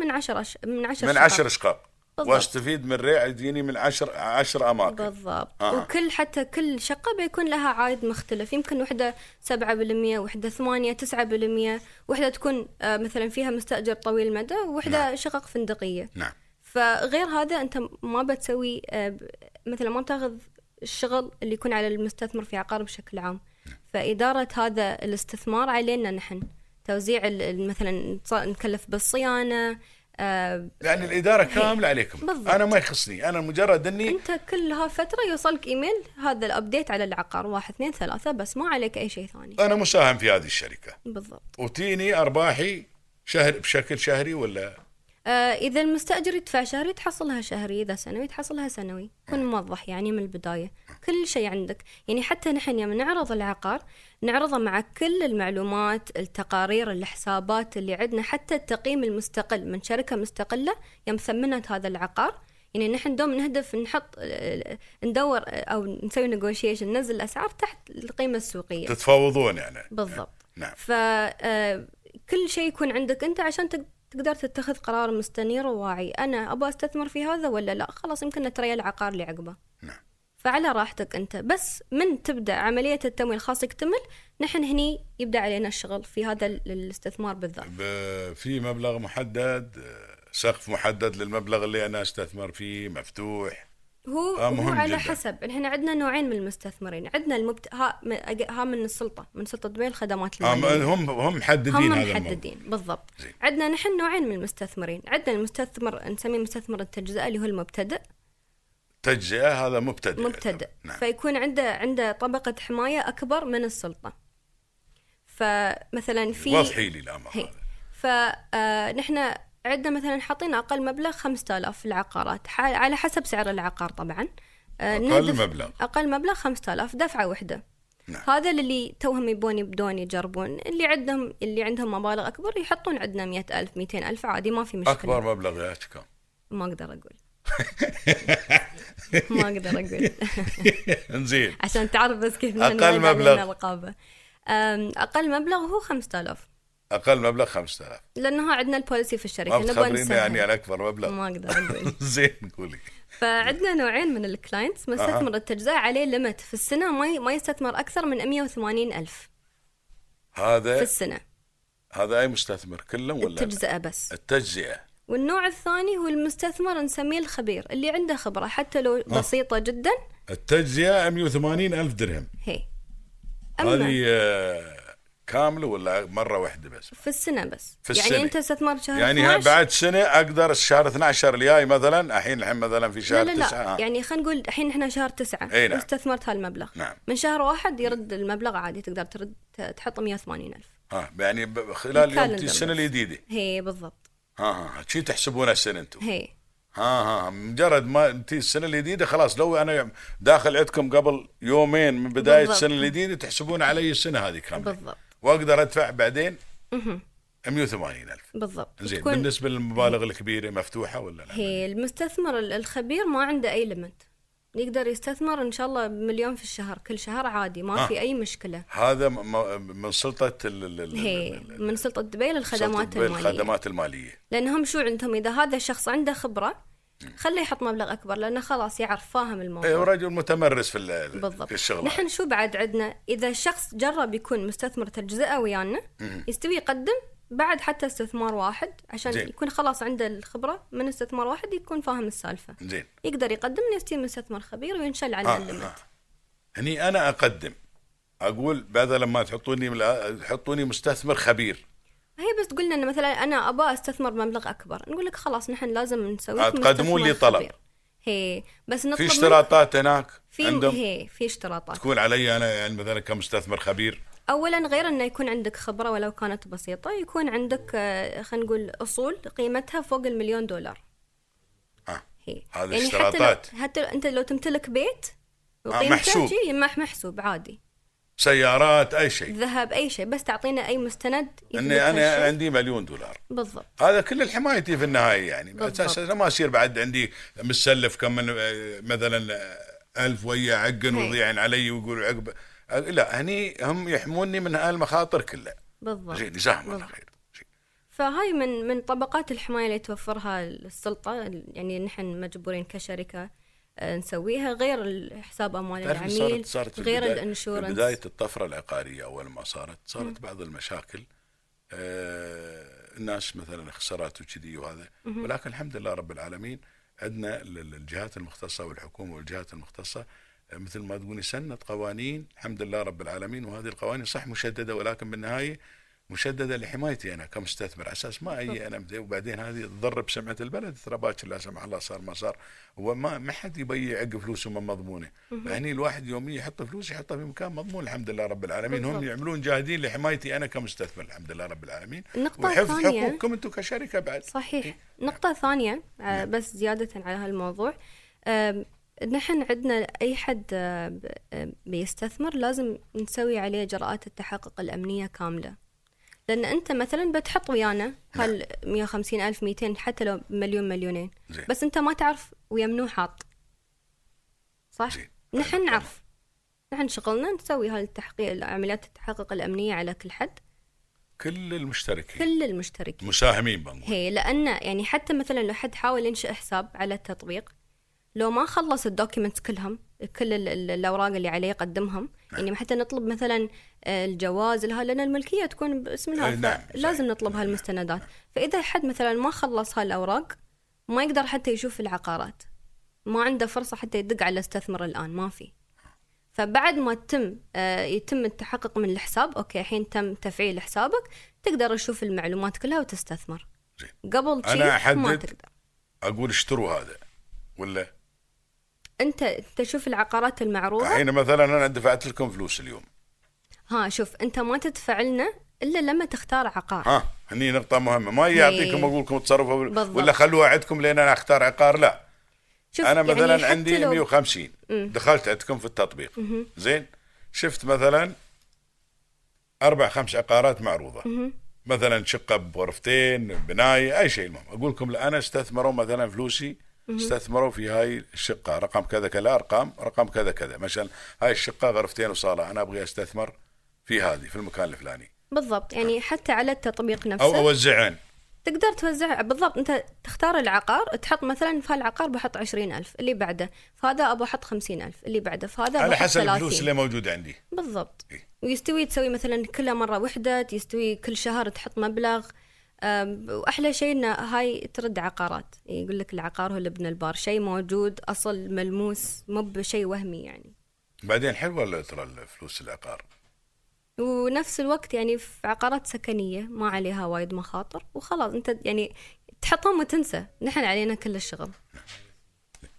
[SPEAKER 3] من 10 أش... من 10
[SPEAKER 2] من
[SPEAKER 3] شقق.
[SPEAKER 2] عشر شقق
[SPEAKER 3] بالضبط.
[SPEAKER 2] واستفيد من ريع يديني من عشر عشر اماكن
[SPEAKER 3] بالضبط
[SPEAKER 2] آه.
[SPEAKER 3] آه. وكل حتى كل شقة بيكون لها عائد مختلف يمكن وحدة سبعة بالمية وحدة ثمانية تسعة بالمية وحدة تكون آه، مثلا فيها مستأجر طويل المدى ووحدة
[SPEAKER 2] نعم.
[SPEAKER 3] شقق فندقية
[SPEAKER 2] نعم
[SPEAKER 3] فغير هذا أنت ما بتسوي آه، ب- مثلا ما بتاخذ الشغل اللي يكون على المستثمر في عقار بشكل عام
[SPEAKER 2] نعم.
[SPEAKER 3] فإدارة هذا الاستثمار علينا نحن توزيع ال- ال- مثلا نتص- نكلف بالصيانة آه،
[SPEAKER 2] يعني الاداره كامله عليكم
[SPEAKER 3] بالضبط.
[SPEAKER 2] انا ما يخصني انا مجرد اني
[SPEAKER 3] انت كلها فترة يوصلك ايميل هذا الابديت على العقار واحد اثنين ثلاثة بس ما عليك اي شيء ثاني
[SPEAKER 2] انا مساهم في هذه الشركه
[SPEAKER 3] بالضبط
[SPEAKER 2] وتيني ارباحي شهر بشكل شهري ولا
[SPEAKER 3] آه اذا المستأجر يدفع شهري تحصلها شهري اذا سنوي تحصلها سنوي كن موضح يعني من البداية كل شيء عندك يعني حتى نحن يوم نعرض العقار نعرضه مع كل المعلومات التقارير الحسابات اللي عندنا حتى التقييم المستقل من شركة مستقلة يوم ثمنت هذا العقار يعني نحن دوم نهدف نحط آه، ندور آه، او نسوي نيغوشيشن ننزل الاسعار تحت القيمه السوقيه
[SPEAKER 2] تتفاوضون يعني
[SPEAKER 3] بالضبط
[SPEAKER 2] نعم
[SPEAKER 3] فكل آه، شيء يكون عندك انت عشان تق- تقدر تتخذ قرار مستنير وواعي انا ابغى استثمر في هذا ولا لا خلاص يمكن نتريى العقار اللي عقبه
[SPEAKER 2] نعم
[SPEAKER 3] فعلى راحتك انت بس من تبدا عمليه التمويل خاص يكتمل نحن هني يبدا علينا الشغل في هذا ال- الاستثمار بالذات
[SPEAKER 2] ب- في مبلغ محدد آه، سقف محدد للمبلغ اللي انا استثمر فيه مفتوح
[SPEAKER 3] هو,
[SPEAKER 2] آه، مهم
[SPEAKER 3] هو على
[SPEAKER 2] جداً.
[SPEAKER 3] حسب احنا عندنا نوعين من المستثمرين عندنا المبت... ها... م- أج- ها من السلطه من سلطه دبي الخدمات
[SPEAKER 2] آه،
[SPEAKER 3] المالية.
[SPEAKER 2] هم هم محددين
[SPEAKER 3] يعني هم
[SPEAKER 2] هذا الموضوع.
[SPEAKER 3] محددين بالضبط
[SPEAKER 2] زين.
[SPEAKER 3] عندنا نحن نوعين من المستثمرين عندنا المستثمر نسميه مستثمر التجزئه اللي هو المبتدئ
[SPEAKER 2] تجزئه هذا مبتدئ
[SPEAKER 3] مبتدئ
[SPEAKER 2] نعم
[SPEAKER 3] فيكون عنده عنده طبقه حمايه اكبر من السلطه فمثلا في
[SPEAKER 2] واضحي لي الامر
[SPEAKER 3] هي. آه،
[SPEAKER 2] هذا
[SPEAKER 3] فنحن عندنا مثلا حاطين اقل مبلغ 5000 في العقارات ح- على حسب سعر العقار طبعا آه،
[SPEAKER 2] أقل
[SPEAKER 3] نهدف-
[SPEAKER 2] مبلغ.
[SPEAKER 3] اقل مبلغ 5000 دفعه واحده
[SPEAKER 2] نعم.
[SPEAKER 3] هذا اللي توهم يبون يبدون يجربون اللي عندهم اللي عندهم مبالغ اكبر يحطون عندنا 100000 200000 عادي ما في مشكله
[SPEAKER 2] اكبر مبلغ يا كم
[SPEAKER 3] ما اقدر اقول ما اقدر اقول
[SPEAKER 2] زين
[SPEAKER 3] عشان تعرف بس كيف
[SPEAKER 2] أقل
[SPEAKER 3] نعمل علينا
[SPEAKER 2] مبلغ.
[SPEAKER 3] رقابه أم، اقل مبلغ هو 5000
[SPEAKER 2] اقل مبلغ 5000
[SPEAKER 3] لانه عندنا البوليسي في
[SPEAKER 2] ما
[SPEAKER 3] الشركه نبغى
[SPEAKER 2] تخبرينا
[SPEAKER 3] نسهل
[SPEAKER 2] يعني على اكبر مبلغ
[SPEAKER 3] ما اقدر اقول
[SPEAKER 2] زين قولي
[SPEAKER 3] فعندنا نوعين من الكلاينتس مستثمر التجزئة عليه ليمت في السنة ما ي- ما يستثمر أكثر من 180 ألف في
[SPEAKER 2] هذا
[SPEAKER 3] السنة
[SPEAKER 2] هذا اي مستثمر كله ولا
[SPEAKER 3] التجزئة بس
[SPEAKER 2] التجزئه
[SPEAKER 3] والنوع الثاني هو المستثمر نسميه الخبير اللي عنده خبرة حتى لو
[SPEAKER 2] آه.
[SPEAKER 3] بسيطة جدا
[SPEAKER 2] التجزئه 180 الف درهم
[SPEAKER 3] هي أما
[SPEAKER 2] هذه آه، كامله ولا مره واحده بس
[SPEAKER 3] في السنة بس
[SPEAKER 2] في السنة.
[SPEAKER 3] يعني أنت استثمر شهر
[SPEAKER 2] يعني ها
[SPEAKER 3] 12
[SPEAKER 2] بعد سنه اقدر الشهر 12 الجاي مثلا الحين الحين مثلا في
[SPEAKER 3] لا
[SPEAKER 2] شهر
[SPEAKER 3] لا
[SPEAKER 2] 9
[SPEAKER 3] لا
[SPEAKER 2] آه.
[SPEAKER 3] يعني خلينا نقول الحين احنا شهر تسعة
[SPEAKER 2] إي نعم.
[SPEAKER 3] واستثمرت هالمبلغ
[SPEAKER 2] نعم.
[SPEAKER 3] من شهر واحد يرد المبلغ عادي تقدر ترد تحط 180 ألف
[SPEAKER 2] آه. يعني ب- خلال يوم
[SPEAKER 3] الكالندر
[SPEAKER 2] السنه
[SPEAKER 3] بس.
[SPEAKER 2] الجديده
[SPEAKER 3] هي بالضبط
[SPEAKER 2] ها ها آه، شي تحسبونها السنه انتم
[SPEAKER 3] هي
[SPEAKER 2] ها ها مجرد ما انت السنه الجديده خلاص لو انا داخل عندكم قبل يومين من بدايه
[SPEAKER 3] بالضبط.
[SPEAKER 2] السنه الجديده تحسبون علي السنه هذه كامله
[SPEAKER 3] بالضبط
[SPEAKER 2] واقدر ادفع بعدين 180 الف
[SPEAKER 3] بالضبط
[SPEAKER 2] زين
[SPEAKER 3] تكون-
[SPEAKER 2] بالنسبه للمبالغ الكبيره مفتوحه ولا لا؟
[SPEAKER 3] هي إيه، المستثمر ال- الخبير ما عنده أي ليمت يقدر يستثمر إن شاء الله مليون في الشهر كل شهر عادي ما
[SPEAKER 2] آه.
[SPEAKER 3] آه. في أي مشكلة
[SPEAKER 2] هذا م- م- من سلطه ال- ال- ال-
[SPEAKER 3] هي
[SPEAKER 2] ال-
[SPEAKER 3] من سلطة دبي للخدمات
[SPEAKER 2] سلطة دبي
[SPEAKER 3] المالية
[SPEAKER 2] الخدمات الماليه
[SPEAKER 3] لأنهم شو عندهم إذا هذا الشخص عنده خبرة خليه يحط مبلغ اكبر لانه خلاص يعرف فاهم الموضوع
[SPEAKER 2] إيه، ورجل متمرس في ال-
[SPEAKER 3] بالضبط
[SPEAKER 2] في الشغل
[SPEAKER 3] نحن شو بعد عندنا اذا الشخص جرب يكون مستثمر تجزئه ويانا يستوي يقدم بعد حتى استثمار واحد عشان
[SPEAKER 2] زين.
[SPEAKER 3] يكون خلاص عنده الخبره من استثمار واحد يكون فاهم السالفه
[SPEAKER 2] زين
[SPEAKER 3] يقدر يقدم يستوي مستثمر خبير وينشل عن
[SPEAKER 2] آه،
[SPEAKER 3] آه الليمت
[SPEAKER 2] آه. هني انا اقدم اقول بدل ما تحطوني ملا- تحطوني مستثمر خبير
[SPEAKER 3] هي بس تقولنا انه مثلا انا ابى استثمر مبلغ اكبر نقول لك خلاص نحن لازم نسوي لك
[SPEAKER 2] آه، تقدمون لي
[SPEAKER 3] مستثمر
[SPEAKER 2] طلب.
[SPEAKER 3] خبير. هي بس نطلب
[SPEAKER 2] في
[SPEAKER 3] منك-
[SPEAKER 2] اشتراطات هناك
[SPEAKER 3] في
[SPEAKER 2] عندهم
[SPEAKER 3] هي في اشتراطات
[SPEAKER 2] تكون علي انا يعني مثلا كمستثمر خبير
[SPEAKER 3] اولا غير انه يكون عندك خبره ولو كانت بسيطه يكون عندك آه، خلينا نقول اصول قيمتها فوق المليون دولار
[SPEAKER 2] آه.
[SPEAKER 3] هي يعني
[SPEAKER 2] هذه
[SPEAKER 3] حتى
[SPEAKER 2] اشتراطات.
[SPEAKER 3] لو حتى لو انت لو تمتلك بيت وقيمته
[SPEAKER 2] محسوب.
[SPEAKER 3] شي مح محسوب عادي
[SPEAKER 2] سيارات اي شيء
[SPEAKER 3] ذهب اي شيء بس تعطينا اي مستند يثبت
[SPEAKER 2] اني انا
[SPEAKER 3] هالشي.
[SPEAKER 2] عندي مليون دولار
[SPEAKER 3] بالضبط
[SPEAKER 2] هذا كل الحمايتي في النهايه يعني
[SPEAKER 3] بالضبط.
[SPEAKER 2] اساسا ما يصير بعد عندي متسلف كم من آه، مثلا آه، ألف ويا عقن
[SPEAKER 3] هي.
[SPEAKER 2] ويضيعن علي ويقولوا عقب آه، لا هني هم يحموني من هالمخاطر كلها
[SPEAKER 3] بالضبط
[SPEAKER 2] زين جزاهم الله
[SPEAKER 3] بالضبط.
[SPEAKER 2] خير زين.
[SPEAKER 3] فهاي من من طبقات الحماية اللي توفرها السلطة يعني نحن مجبورين كشركة آه، نسويها غير ال- حساب أموال
[SPEAKER 2] تعرف
[SPEAKER 3] العميل
[SPEAKER 2] صارت صارت في
[SPEAKER 3] يعني غير
[SPEAKER 2] البداية- في
[SPEAKER 3] الانشورنس
[SPEAKER 2] بدايه الطفره العقاريه اول ما صارت صارت بعض المشاكل آه الناس مثلا خسارات وكذي وهذا ولكن الحمد لله رب العالمين عندنا ال- ال- الجهات المختصه والحكومه والجهات المختصه آه، مثل ما تقولي سنت قوانين الحمد لله رب العالمين وهذه القوانين صح مشدده ولكن بالنهايه مشدده لحمايتي انا كمستثمر على اساس ما اي انا بدي- وبعدين هذه تضر بسمعه البلد ترى باكر لا سمح الله صار ما صار وما ما حد يبي يعق فلوسه من مضمونه يعني الواحد يوميا يحط فلوس يحطها في مكان مضمون الحمد لله رب العالمين هم
[SPEAKER 3] بالضبط.
[SPEAKER 2] يعملون جاهدين لحمايتي انا كمستثمر الحمد لله رب العالمين
[SPEAKER 3] النقطة
[SPEAKER 2] وحفظ
[SPEAKER 3] الثانية-
[SPEAKER 2] حقوقكم انتم كشركه بعد إيه.
[SPEAKER 3] صحيح نقطة ثانية آه،
[SPEAKER 2] نعم.
[SPEAKER 3] بس زيادة على هالموضوع آم، نحن عندنا أي حد آه، ب- آه، بيستثمر لازم نسوي عليه إجراءات التحقق الأمنية كاملة لأن أنت مثلا بتحط
[SPEAKER 2] نعم.
[SPEAKER 3] ويانا هال 150 ألف 200 حتى لو مليون مليونين
[SPEAKER 2] زين.
[SPEAKER 3] بس أنت ما تعرف ويا منو حاط صح؟
[SPEAKER 2] زين. طيب،
[SPEAKER 3] نحن نعرف نحن شغلنا نسوي هالتحقيق عمليات التحقق الأمنية على كل حد
[SPEAKER 2] كل المشتركين
[SPEAKER 3] كل المشتركين
[SPEAKER 2] مساهمين بنقول
[SPEAKER 3] هي لأن يعني حتى مثلا لو حد حاول ينشئ حساب على التطبيق لو ما خلص الدوكيمنتس كلهم كل ال- ال- الأوراق اللي عليه يقدمهم
[SPEAKER 2] نعم.
[SPEAKER 3] يعني حتى نطلب مثلا آه، الجواز لها لأن الملكية تكون باسمنا
[SPEAKER 2] آه، نعم،
[SPEAKER 3] لازم
[SPEAKER 2] صحيح.
[SPEAKER 3] نطلب هالمستندات فإذا حد مثلا ما خلص هالأوراق ما يقدر حتى يشوف العقارات ما عنده فرصة حتى يدق على استثمر الآن ما في فبعد ما تتم آه، يتم التحقق من الحساب اوكي الحين تم تفعيل حسابك تقدر تشوف المعلومات كلها وتستثمر
[SPEAKER 2] زين.
[SPEAKER 3] قبل
[SPEAKER 2] أنا
[SPEAKER 3] شي ما
[SPEAKER 2] أحدد.
[SPEAKER 3] تقدر
[SPEAKER 2] اقول اشتروا هذا ولا
[SPEAKER 3] انت تشوف العقارات المعروضه
[SPEAKER 2] الحين مثلا انا دفعت لكم فلوس اليوم
[SPEAKER 3] ها شوف انت ما تدفع لنا الا لما تختار عقار
[SPEAKER 2] ها هني نقطة مهمة ما يعطيكم اقول لكم تصرفوا
[SPEAKER 3] إيه. بالضبط.
[SPEAKER 2] ولا خلوها عندكم لين انا اختار عقار لا
[SPEAKER 3] شوف
[SPEAKER 2] انا مثلا
[SPEAKER 3] يعني
[SPEAKER 2] يعني
[SPEAKER 3] حتى
[SPEAKER 2] عندي
[SPEAKER 3] لو-
[SPEAKER 2] 150 دخلت عندكم في التطبيق زين شفت مثلا اربع خمس عقارات معروضه مثلا شقه بغرفتين بنايه اي شيء المهم اقول لكم لا انا استثمروا مثلا فلوسي استثمروا في هاي الشقه رقم كذا كذا ارقام رقم كذا كذا مثلا هاي الشقه غرفتين وصاله انا ابغي استثمر في هذه في المكان الفلاني
[SPEAKER 3] بالضبط يعني حتى على التطبيق نفسه
[SPEAKER 2] او اوزعن
[SPEAKER 3] تقدر توزع بالضبط انت تختار العقار تحط مثلا في هالعقار بحط عشرين ألف اللي بعده فهذا ابى احط خمسين ألف اللي بعده فهذا
[SPEAKER 2] على
[SPEAKER 3] بحط
[SPEAKER 2] حسب الفلوس
[SPEAKER 3] 30.
[SPEAKER 2] اللي موجوده عندي
[SPEAKER 3] بالضبط
[SPEAKER 2] إيه.
[SPEAKER 3] ويستوي تسوي مثلا كلها مرة وحدة يستوي كل شهر تحط مبلغ أم، وأحلى شيء إن هاي ترد عقارات يقول لك العقار هو لبن البار شيء موجود أصل ملموس مو بشيء وهمي يعني
[SPEAKER 2] بعدين حلوه ولا ترى فلوس العقار
[SPEAKER 3] ونفس الوقت يعني في عقارات سكنية ما عليها وايد مخاطر وخلاص أنت يعني تحطهم وتنسى نحن علينا كل الشغل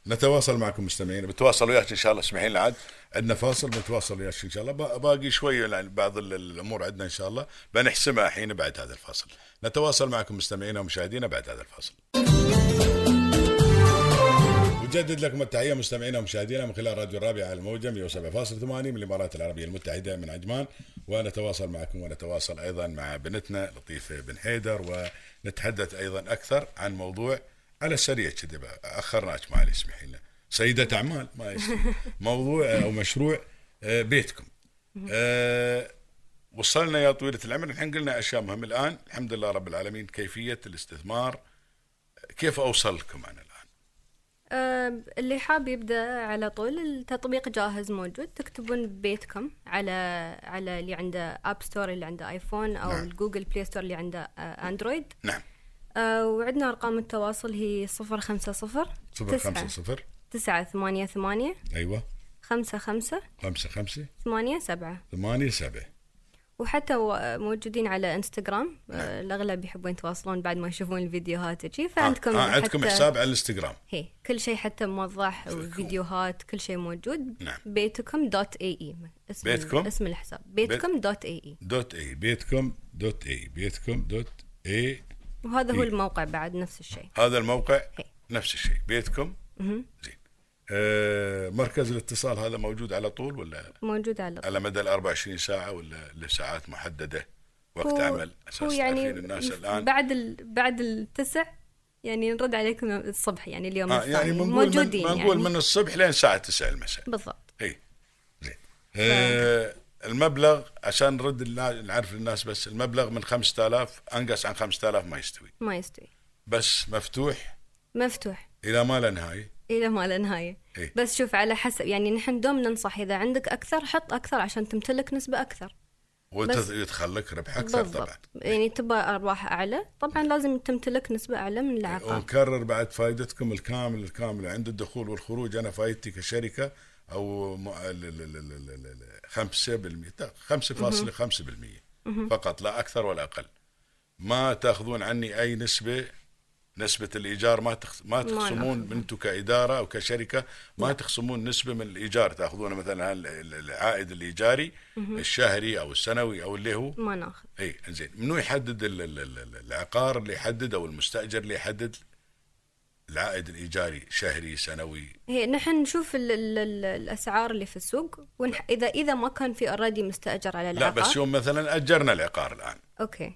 [SPEAKER 2] نتواصل معكم مستمعين بتواصل وياك ان شاء الله اسمحين لي عاد عندنا فاصل بنتواصل وياك ان شاء الله با- باقي شويه لان بعض ال- الامور عندنا ان شاء الله بنحسمها الحين بعد هذا الفاصل نتواصل معكم مستمعينا ومشاهدينا بعد هذا الفاصل نجدد لكم التحية مستمعينا ومشاهدينا من خلال راديو الرابعة على الموجة 107.8 من الإمارات العربية المتحدة من عجمان ونتواصل معكم ونتواصل أيضا مع بنتنا لطيفة بن حيدر ونتحدث أيضا أكثر عن موضوع على السريع كذا بقى، أخرناك معلي اسمحي لنا سيدة أعمال ما يصير. موضوع أو مشروع آه، بيتكم آه، وصلنا يا طويلة العمر الحين قلنا أشياء مهمة الآن الحمد لله رب العالمين كيفية الاستثمار كيف أوصل لكم أنا الآن
[SPEAKER 3] آه، اللي حاب يبدا على طول التطبيق جاهز موجود تكتبون ببيتكم على على اللي عنده اب ستور اللي عنده ايفون او
[SPEAKER 2] نعم.
[SPEAKER 3] نعم. جوجل بلاي ستور اللي عنده آه، اندرويد
[SPEAKER 2] نعم
[SPEAKER 3] آه، وعندنا ارقام التواصل هي 050
[SPEAKER 2] صفر خمسة صفر
[SPEAKER 3] 988
[SPEAKER 2] أيوة
[SPEAKER 3] 55
[SPEAKER 2] خمسة خمسة
[SPEAKER 3] 87
[SPEAKER 2] ثمانية سبعة
[SPEAKER 3] وحتى و- آه، موجودين على انستغرام آه، الاغلب يحبون يتواصلون بعد ما يشوفون الفيديوهات وشي فعندكم
[SPEAKER 2] نعم. آه. آه. عندكم
[SPEAKER 3] حتى-
[SPEAKER 2] حساب على الانستغرام
[SPEAKER 3] هي كل شيء حتى موضح وفيديوهات كل شيء موجود
[SPEAKER 2] نعم.
[SPEAKER 3] بيتكم دوت اي اي اسم
[SPEAKER 2] بيتكم؟
[SPEAKER 3] اسم الحساب بيتكم دوت E. اي اي
[SPEAKER 2] دوت اي بيتكم دوت اي بيتكم دوت اي
[SPEAKER 3] وهذا هو
[SPEAKER 2] إي.
[SPEAKER 3] الموقع بعد نفس الشيء
[SPEAKER 2] هذا الموقع
[SPEAKER 3] هي.
[SPEAKER 2] نفس الشيء بيتكم زين آه. مركز الاتصال هذا موجود على طول ولا
[SPEAKER 3] موجود على
[SPEAKER 2] على مدى ال 24 ساعة ولا لساعات محددة وقت عمل
[SPEAKER 3] هو
[SPEAKER 2] اساس
[SPEAKER 3] يعني
[SPEAKER 2] تعرفين الناس الان
[SPEAKER 3] بعد ال... بعد التسع يعني نرد عليكم الصبح يعني اليوم
[SPEAKER 2] آه.
[SPEAKER 3] الثاني
[SPEAKER 2] يعني بنقول من,
[SPEAKER 3] موجودين
[SPEAKER 2] بنقول
[SPEAKER 3] يعني
[SPEAKER 2] من الصبح لين الساعة 9 المساء
[SPEAKER 3] بالضبط
[SPEAKER 2] اي إيه. زين آه المبلغ عشان نرد النا- نعرف للناس بس المبلغ من 5000 انقص عن 5000 ما يستوي
[SPEAKER 3] ما يستوي
[SPEAKER 2] بس مفتوح
[SPEAKER 3] مفتوح
[SPEAKER 2] الى ما لا نهايه
[SPEAKER 3] الى ما لا نهايه
[SPEAKER 2] إي.
[SPEAKER 3] بس شوف على حسب يعني نحن دوم ننصح اذا عندك اكثر حط اكثر عشان تمتلك نسبه اكثر بس-
[SPEAKER 2] ويدخل لك ربح اكثر طبعا
[SPEAKER 3] بالضبط يعني تبغى ارباح اعلى طبعا لازم تمتلك نسبه اعلى من العقار
[SPEAKER 2] ونكرر بعد فائدتكم الكامل الكامله عند الدخول والخروج انا فائدتي كشركه او م- ال- ال- ال- ال- ال- ال- 5% تا- 5.5% فقط لا اكثر ولا اقل ما تاخذون عني اي نسبه نسبة الإيجار ما تخ... ما تخصمون
[SPEAKER 3] ناخذها.
[SPEAKER 2] من انتم كإدارة أو كشركة ما تخصمون نسبة من الإيجار تاخذون مثلا ال- ال- العائد الإيجاري الشهري أو السنوي أو اللي هو
[SPEAKER 3] ما ناخذ
[SPEAKER 2] اي زين إيه، منو يحدد ال- ال- ال- ال- العقار اللي يحدد او المستاجر اللي يحدد العائد الايجاري شهري سنوي
[SPEAKER 3] هي نحن نشوف ال ال ال الاسعار اللي في السوق ونح... اذا اذا ما كان في اوريدي مستاجر على
[SPEAKER 2] لا
[SPEAKER 3] العقار
[SPEAKER 2] بس يوم مثلا اجرنا العقار الان
[SPEAKER 3] اوكي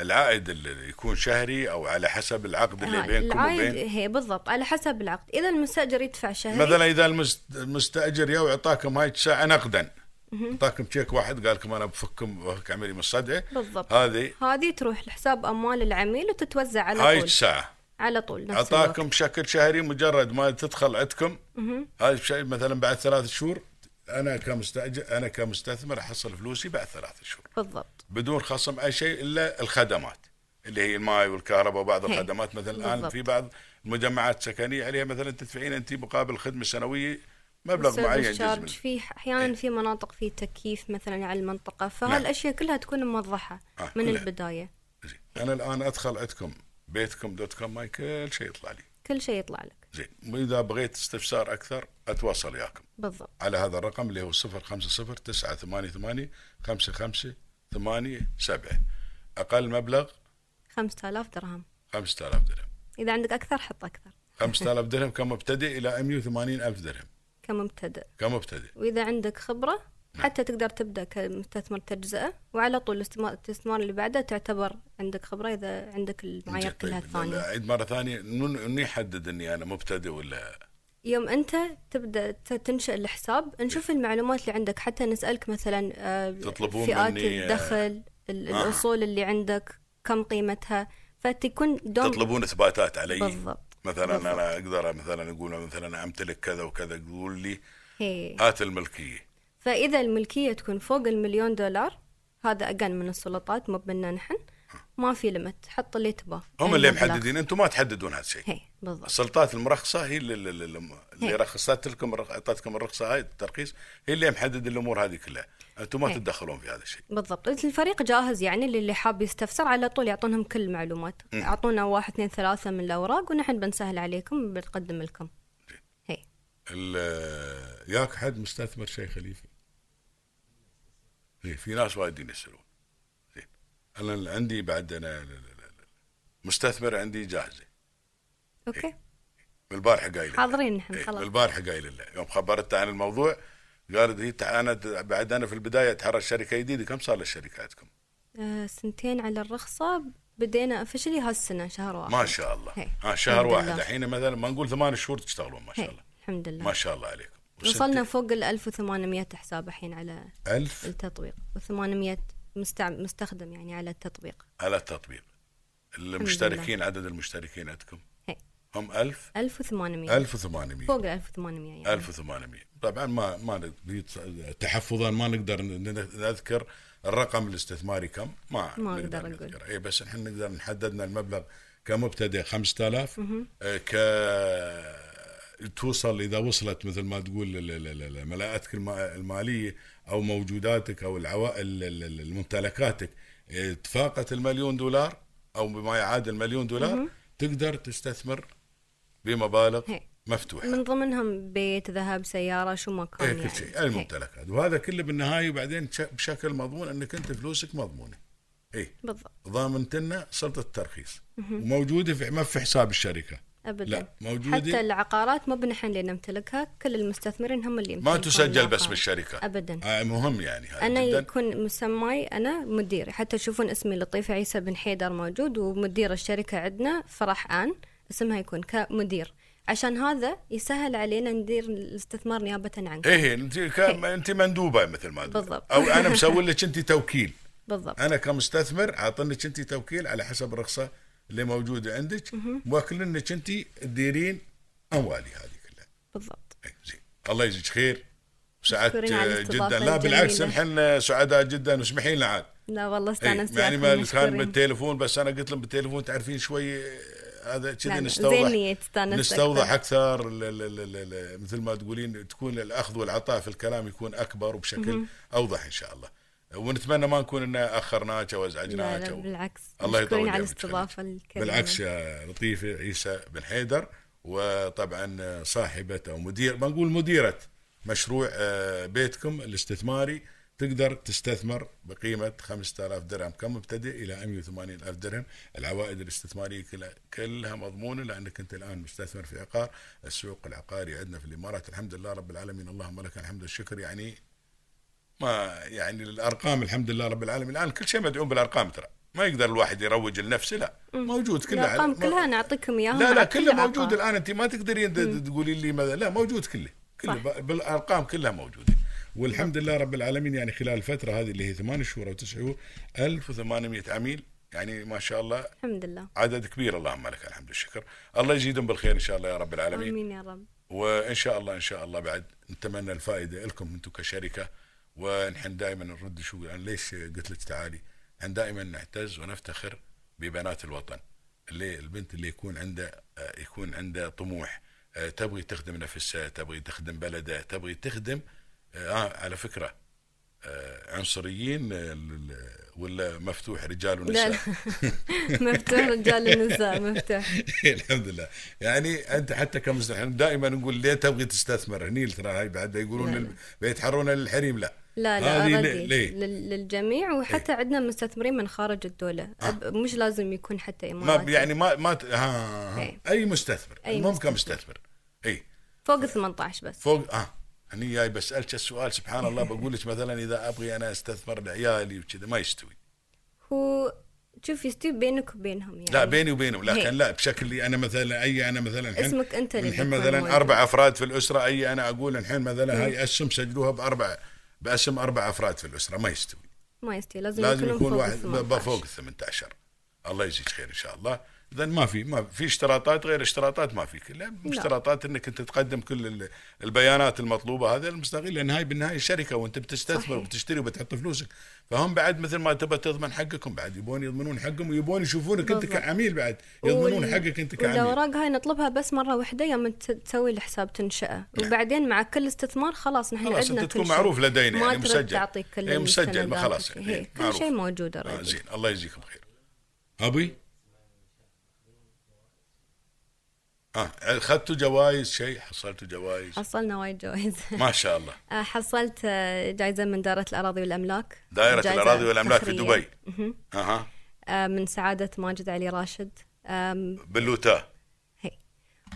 [SPEAKER 2] العائد اللي يكون شهري او على حسب العقد اللي
[SPEAKER 3] ها،
[SPEAKER 2] بينكم
[SPEAKER 3] العائد
[SPEAKER 2] وبين
[SPEAKER 3] آه، هي بالضبط على حسب العقد اذا المستاجر يدفع شهري
[SPEAKER 2] مثلا اذا المست- المستاجر يا اعطاكم هاي الساعه نقدا اعطاكم تشيك واحد قال لكم انا بفككم بفك عملي من الصدعه
[SPEAKER 3] بالضبط
[SPEAKER 2] هذه
[SPEAKER 3] هذه تروح لحساب اموال العميل وتتوزع على
[SPEAKER 2] هاي
[SPEAKER 3] طول
[SPEAKER 2] الساعه
[SPEAKER 3] على طول نفس
[SPEAKER 2] اعطاكم
[SPEAKER 3] الوقت.
[SPEAKER 2] بشكل شهري مجرد ما تدخل عندكم هذا الشيء مثلا بعد ثلاث شهور انا كمستاجر انا كمستثمر احصل فلوسي بعد ثلاث شهور
[SPEAKER 3] بالضبط
[SPEAKER 2] بدون خصم اي شيء الا الخدمات اللي هي الماي والكهرباء وبعض
[SPEAKER 3] هي.
[SPEAKER 2] الخدمات مثلا الان
[SPEAKER 3] بالضبط.
[SPEAKER 2] في بعض المجمعات السكنيه عليها مثلا تدفعين انت مقابل خدمه سنويه مبلغ
[SPEAKER 3] السيرفس
[SPEAKER 2] معين جزء إيه.
[SPEAKER 3] شارج
[SPEAKER 2] منه.
[SPEAKER 3] في احيانا في مناطق في تكييف مثلا على المنطقه فهالاشياء كلها تكون موضحه
[SPEAKER 2] نعم. آه،
[SPEAKER 3] من
[SPEAKER 2] كلها.
[SPEAKER 3] البدايه
[SPEAKER 2] زين. انا الان ادخل عندكم بيتكم دوت كوم ماي كل شيء يطلع لي
[SPEAKER 3] كل شيء يطلع لك
[SPEAKER 2] زين واذا بغيت استفسار اكثر اتواصل وياكم
[SPEAKER 3] بالضبط
[SPEAKER 2] على هذا الرقم اللي هو 050 988 5587 أقل مبلغ
[SPEAKER 3] 5000 درهم
[SPEAKER 2] 5000 درهم
[SPEAKER 3] اذا عندك اكثر حط اكثر
[SPEAKER 2] 5000 درهم كمبتدئ إلى 180 ألف درهم
[SPEAKER 3] كمبتدئ
[SPEAKER 2] كمبتدئ
[SPEAKER 3] واذا عندك خبره حتى تقدر تبدا كمستثمر تجزئه وعلى طول الاستثمار الاستثمار اللي بعده تعتبر عندك خبره اذا عندك المعايير
[SPEAKER 2] زين،
[SPEAKER 3] كلها
[SPEAKER 2] طيب، لا،
[SPEAKER 3] الثانيه
[SPEAKER 2] عيد مرة ثانية من من يحدد إني أنا مبتدئ ولا
[SPEAKER 3] يوم انت تبدا ت- تنشئ الحساب نشوف المعلومات اللي عندك حتى نسالك مثلا آه،
[SPEAKER 2] تطلبون
[SPEAKER 3] فئات
[SPEAKER 2] مني، آه،
[SPEAKER 3] الدخل ال-
[SPEAKER 2] آه.
[SPEAKER 3] الاصول اللي عندك كم قيمتها فتكون دوم
[SPEAKER 2] تطلبون إثباتات علي
[SPEAKER 3] بالضبط
[SPEAKER 2] مثلا
[SPEAKER 3] بالضبط.
[SPEAKER 2] أنا أقدر مثلا أقول مثلا أمتلك كذا وكذا يقول لي
[SPEAKER 3] إيه. هي.
[SPEAKER 2] هات الملكية
[SPEAKER 3] فإذا الملكية تكون فوق المليون دولار هذا أقل من السلطات مو بنا نحن ما في لمت حط اللي تباه
[SPEAKER 2] هم
[SPEAKER 3] أي
[SPEAKER 2] اللي
[SPEAKER 3] مبلغ.
[SPEAKER 2] محددين أنتم ما تحددون هذا الشيء
[SPEAKER 3] هي بالضبط
[SPEAKER 2] السلطات المرخصه هي اللي, اللي, اللي, اللي
[SPEAKER 3] هي.
[SPEAKER 2] رخصت لكم الرخ- اعطتكم الرخصه هاي الترخيص هي اللي محدد الامور هذه كلها انتم ما
[SPEAKER 3] هي.
[SPEAKER 2] تتدخلون في هذا الشيء
[SPEAKER 3] بالضبط الفريق جاهز يعني اللي حاب يستفسر على طول يعطونهم كل المعلومات أعطونا واحد اثنين ثلاثة من الأوراق ونحن بنسهل عليكم بنقدم لكم هي
[SPEAKER 2] ال- ياك حد مستثمر شيء خليفه إيه، في ناس وايدين يسالون زين انا اللي عندي بعد انا لا- لا- لا- لا. مستثمر عندي جاهزه
[SPEAKER 3] أوكي
[SPEAKER 2] من البارحه قايله
[SPEAKER 3] حاضرين نحن
[SPEAKER 2] إيه،
[SPEAKER 3] خلاص
[SPEAKER 2] بالبارحه قايل له يوم خبرتها عن الموضوع قالت هي تع- انا د- بعد انا في البدايه اتحرك شركه جديده كم صار لشركاتكم؟
[SPEAKER 3] آه سنتين على الرخصة بدينا أفشلي هالسنة شهر واحد
[SPEAKER 2] ما شاء الله
[SPEAKER 3] هي.
[SPEAKER 2] ها شهر
[SPEAKER 3] الحمد
[SPEAKER 2] واحد
[SPEAKER 3] لله.
[SPEAKER 2] الحين مثلا ما نقول ثمان شهور تشتغلون ما شاء
[SPEAKER 3] هي
[SPEAKER 2] الله
[SPEAKER 3] الحمد لله
[SPEAKER 2] ما شاء الله عليكم
[SPEAKER 3] وصلنا فوق ال 1800 حساب الحين على
[SPEAKER 2] 1000
[SPEAKER 3] التطبيق و800 مستع... مستخدم يعني على التطبيق
[SPEAKER 2] على التطبيق المشتركين عدد المشتركين عندكم
[SPEAKER 3] هي
[SPEAKER 2] هم 1000
[SPEAKER 3] 1800
[SPEAKER 2] 1800
[SPEAKER 3] فوق ال 1800 يعني
[SPEAKER 2] 1800 طبعا ما ما نقدر تحفظا ما نقدر ن- نذكر الرقم الاستثماري كم ما,
[SPEAKER 3] ما أقدر أقول.
[SPEAKER 2] نذكره. اي بس احنا نقدر نحددنا المبلغ كمبتدئ 5000 آه، ك توصل اذا وصلت مثل ما تقول ل- ل- ل- ل- ملاءاتك الما- الماليه او موجوداتك او العوائل ال- ال- الممتلكاتك آه، تفاقت المليون دولار او بما يعادل مليون دولار تقدر تستثمر بمبالغ
[SPEAKER 3] هي.
[SPEAKER 2] مفتوحه
[SPEAKER 3] من ضمنهم بيت ذهب سيارة شو ما كان
[SPEAKER 2] اي إيه، كل
[SPEAKER 3] يعني
[SPEAKER 2] شيء الممتلكات وهذا كله بالنهايه بعدين تش- بشكل مضمون انك انت فلوسك إيه. مضمونه اي
[SPEAKER 3] هي. بالضبط
[SPEAKER 2] ضامنتنا سلطه الترخيص وموجوده في ما في حساب الشركه
[SPEAKER 3] ابدا
[SPEAKER 2] لا موجوده
[SPEAKER 3] حتى العقارات مو بنحن اللي نمتلكها كل المستثمرين هم اللي
[SPEAKER 2] ما
[SPEAKER 3] يمتلكون
[SPEAKER 2] تسجل بس
[SPEAKER 3] العقار.
[SPEAKER 2] بالشركه
[SPEAKER 3] ابدا
[SPEAKER 2] آه مهم يعني هذا
[SPEAKER 3] انا
[SPEAKER 2] جدا
[SPEAKER 3] يكون مسماي انا مديري حتى تشوفون اسمي لطيفه عيسى بن حيدر موجود ومدير الشركه عندنا فرح ان اسمها يكون كمدير عشان هذا يسهل علينا ندير الاستثمار نيابه عنك
[SPEAKER 2] ايه انت ك- انت مندوبه مثل ما تقول.
[SPEAKER 3] إيه. بالضبط.
[SPEAKER 2] او انا مسوي لك انت توكيل
[SPEAKER 3] بالضبط
[SPEAKER 2] انا كمستثمر عاطنك انت توكيل على حسب الرخصه اللي موجوده عندك موكلنك انت تديرين اموالي هذه كلها
[SPEAKER 3] بالضبط
[SPEAKER 2] إيه، زين الله يجزيك خير سعدت
[SPEAKER 3] مشكورين على الاستضافة
[SPEAKER 2] جدا لا بالعكس
[SPEAKER 3] الجميلة.
[SPEAKER 2] نحن سعداء جدا واسمحي لنا عاد
[SPEAKER 3] لا والله
[SPEAKER 2] إيه،
[SPEAKER 3] استانست
[SPEAKER 2] يعني
[SPEAKER 3] وياكم،
[SPEAKER 2] ما كان
[SPEAKER 3] مشكورين.
[SPEAKER 2] بالتليفون بس انا قلت لهم بالتليفون تعرفين شوي آه، هذا
[SPEAKER 3] لا،
[SPEAKER 2] كذا
[SPEAKER 3] لا،
[SPEAKER 2] نستوضح
[SPEAKER 3] زين نية، استانست
[SPEAKER 2] نستوضح اكثر ل- ل- ل- ل- ل- مثل ما تقولين تكون الاخذ والعطاء في الكلام يكون اكبر وبشكل اوضح ان شاء الله ونتمنى ما نكون ان اخرناك او
[SPEAKER 3] لا
[SPEAKER 2] ازعجناك
[SPEAKER 3] لا
[SPEAKER 2] أو-
[SPEAKER 3] بالعكس
[SPEAKER 2] الله يطول
[SPEAKER 3] مشكورين على
[SPEAKER 2] عمرك.
[SPEAKER 3] الاستضافه الكريمه
[SPEAKER 2] بالعكس يا لطيفة عيسى بن حيدر وطبعا صاحبة أو مدير ما نقول مديرة مشروع آه، بيتكم الاستثماري تقدر تستثمر بقيمة 5000 درهم كمبتدئ إلى 180 ألف درهم العوائد الاستثمارية كلها, كلها مضمونة لأنك أنت الآن مستثمر في عقار السوق العقاري عندنا في الإمارات الحمد لله رب العالمين اللهم لك الحمد والشكر يعني ما يعني الارقام الحمد لله رب العالمين الان كل شيء مدعوم بالارقام ترى ما يقدر الواحد يروج لنفسه لا موجود كله
[SPEAKER 3] الارقام
[SPEAKER 2] على- ما-
[SPEAKER 3] كلها نعطيكم اياها
[SPEAKER 2] لا لا
[SPEAKER 3] مع
[SPEAKER 2] كله
[SPEAKER 3] كل
[SPEAKER 2] موجود
[SPEAKER 3] عقار.
[SPEAKER 2] الان انت ما تقدرين د- تقولين لي ماذا لا موجود كله كله
[SPEAKER 3] صح.
[SPEAKER 2] ب- بالارقام كلها موجوده والحمد لله رب العالمين يعني خلال الفتره هذه اللي هي ثمان شهور او تسع شهور 1800 عميل يعني ما شاء الله
[SPEAKER 3] الحمد لله
[SPEAKER 2] عدد كبير اللهم لك الحمد والشكر الله يزيدهم بالخير ان شاء الله يا رب العالمين
[SPEAKER 3] امين يا رب
[SPEAKER 2] وان شاء الله ان شاء الله بعد نتمنى الفائده لكم انتم كشركه ونحن دائما نرد شو انا ليش قلت لك تعالي؟ نحن دائما نعتز ونفتخر ببنات الوطن اللي البنت اللي يكون عنده آه، يكون عنده طموح آه، تبغي تخدم نفسها تبغي تخدم بلدها تبغي تخدم آه على فكره آه، عنصريين آه، ل- ل- ولا مفتوح رجال
[SPEAKER 3] لا
[SPEAKER 2] ونساء
[SPEAKER 3] لا مفتوح رجال النساء مفتوح
[SPEAKER 2] الحمد لله يعني انت حتى كمستحيل دائما نقول ليه تبغي تستثمر هني ترى هاي بعد يقولون
[SPEAKER 3] لا،
[SPEAKER 2] لل... بيتحرون للحريم لا
[SPEAKER 3] لا لا
[SPEAKER 2] هذه
[SPEAKER 3] أراضي
[SPEAKER 2] ليه؟ إيه. ليه؟
[SPEAKER 3] لل- للجميع وحتى عندنا مستثمرين من خارج الدولة أب- مش لازم يكون حتى
[SPEAKER 2] آه. ما
[SPEAKER 3] إماراتي
[SPEAKER 2] يعني ما ما ت- ها- ها
[SPEAKER 3] إيه.
[SPEAKER 2] اي مستثمر
[SPEAKER 3] أي
[SPEAKER 2] المهم كمستثمر اي
[SPEAKER 3] فوق 18 بس
[SPEAKER 2] فوق اه هني جاي بسالك السؤال سبحان الله بقول لك مثلا اذا ابغي انا استثمر لعيالي وكذا ما يستوي
[SPEAKER 3] هو شوف يستوي بينك وبينهم يعني
[SPEAKER 2] لا بيني وبينهم لكن
[SPEAKER 3] هي.
[SPEAKER 2] لا بشكل لي انا مثلا اي انا مثلا الحين
[SPEAKER 3] اسمك أنت اللي
[SPEAKER 2] الحين
[SPEAKER 3] بيكون موجود.
[SPEAKER 2] مثلا اربع افراد في الاسره اي انا اقول الحين مثلا هاي اسهم سجلوها باربع باسم اربع افراد في الاسره ما يستوي
[SPEAKER 3] ما يستوي لازم,
[SPEAKER 2] لازم
[SPEAKER 3] يكونون
[SPEAKER 2] يكون
[SPEAKER 3] فوق
[SPEAKER 2] واحد ب-
[SPEAKER 3] 18.
[SPEAKER 2] فوق ال 18 الله يجزيك خير ان شاء الله اذا ما في ما في اشتراطات غير اشتراطات ما في كلها اشتراطات انك انت تقدم كل ال- البيانات المطلوبه هذا المستغل لان هاي بالنهايه شركه وانت بتستثمر
[SPEAKER 3] صحيح.
[SPEAKER 2] وبتشتري وبتحط فلوسك فهم بعد مثل ما تبى تضمن حقكم بعد يبون يضمنون حقهم ويبون يشوفونك انت
[SPEAKER 3] بالضبط.
[SPEAKER 2] كعميل بعد يضمنون
[SPEAKER 3] وال-
[SPEAKER 2] حقك انت كعميل
[SPEAKER 3] والاوراق هاي نطلبها بس مره واحده يوم ت- تسوي الحساب تنشاه وبعدين مع كل استثمار خلاص نحن
[SPEAKER 2] نعم. خلاص
[SPEAKER 3] عندنا
[SPEAKER 2] انت
[SPEAKER 3] كل
[SPEAKER 2] تكون
[SPEAKER 3] شيء.
[SPEAKER 2] معروف لدينا
[SPEAKER 3] ما
[SPEAKER 2] يعني
[SPEAKER 3] ترد
[SPEAKER 2] مسجل
[SPEAKER 3] تعطيك كل
[SPEAKER 2] إيه، مسجل ما
[SPEAKER 3] السندات
[SPEAKER 2] خلاص
[SPEAKER 3] وشي.
[SPEAKER 2] يعني
[SPEAKER 3] هي، كل
[SPEAKER 2] معروف.
[SPEAKER 3] شيء موجود
[SPEAKER 2] آه،
[SPEAKER 3] already.
[SPEAKER 2] زين الله يجزيكم خير ابي اه اخذتوا جوائز شيء حصلتوا جوائز
[SPEAKER 3] حصلنا وايد جوائز
[SPEAKER 2] ما شاء الله
[SPEAKER 3] آه، حصلت آه، جائزة من دائرة الأراضي والأملاك
[SPEAKER 2] دائرة
[SPEAKER 3] جائزة
[SPEAKER 2] الأراضي والأملاك في
[SPEAKER 3] فخرية.
[SPEAKER 2] دبي اها
[SPEAKER 3] آه، من سعادة ماجد علي راشد آم،
[SPEAKER 2] باللوتا
[SPEAKER 3] هي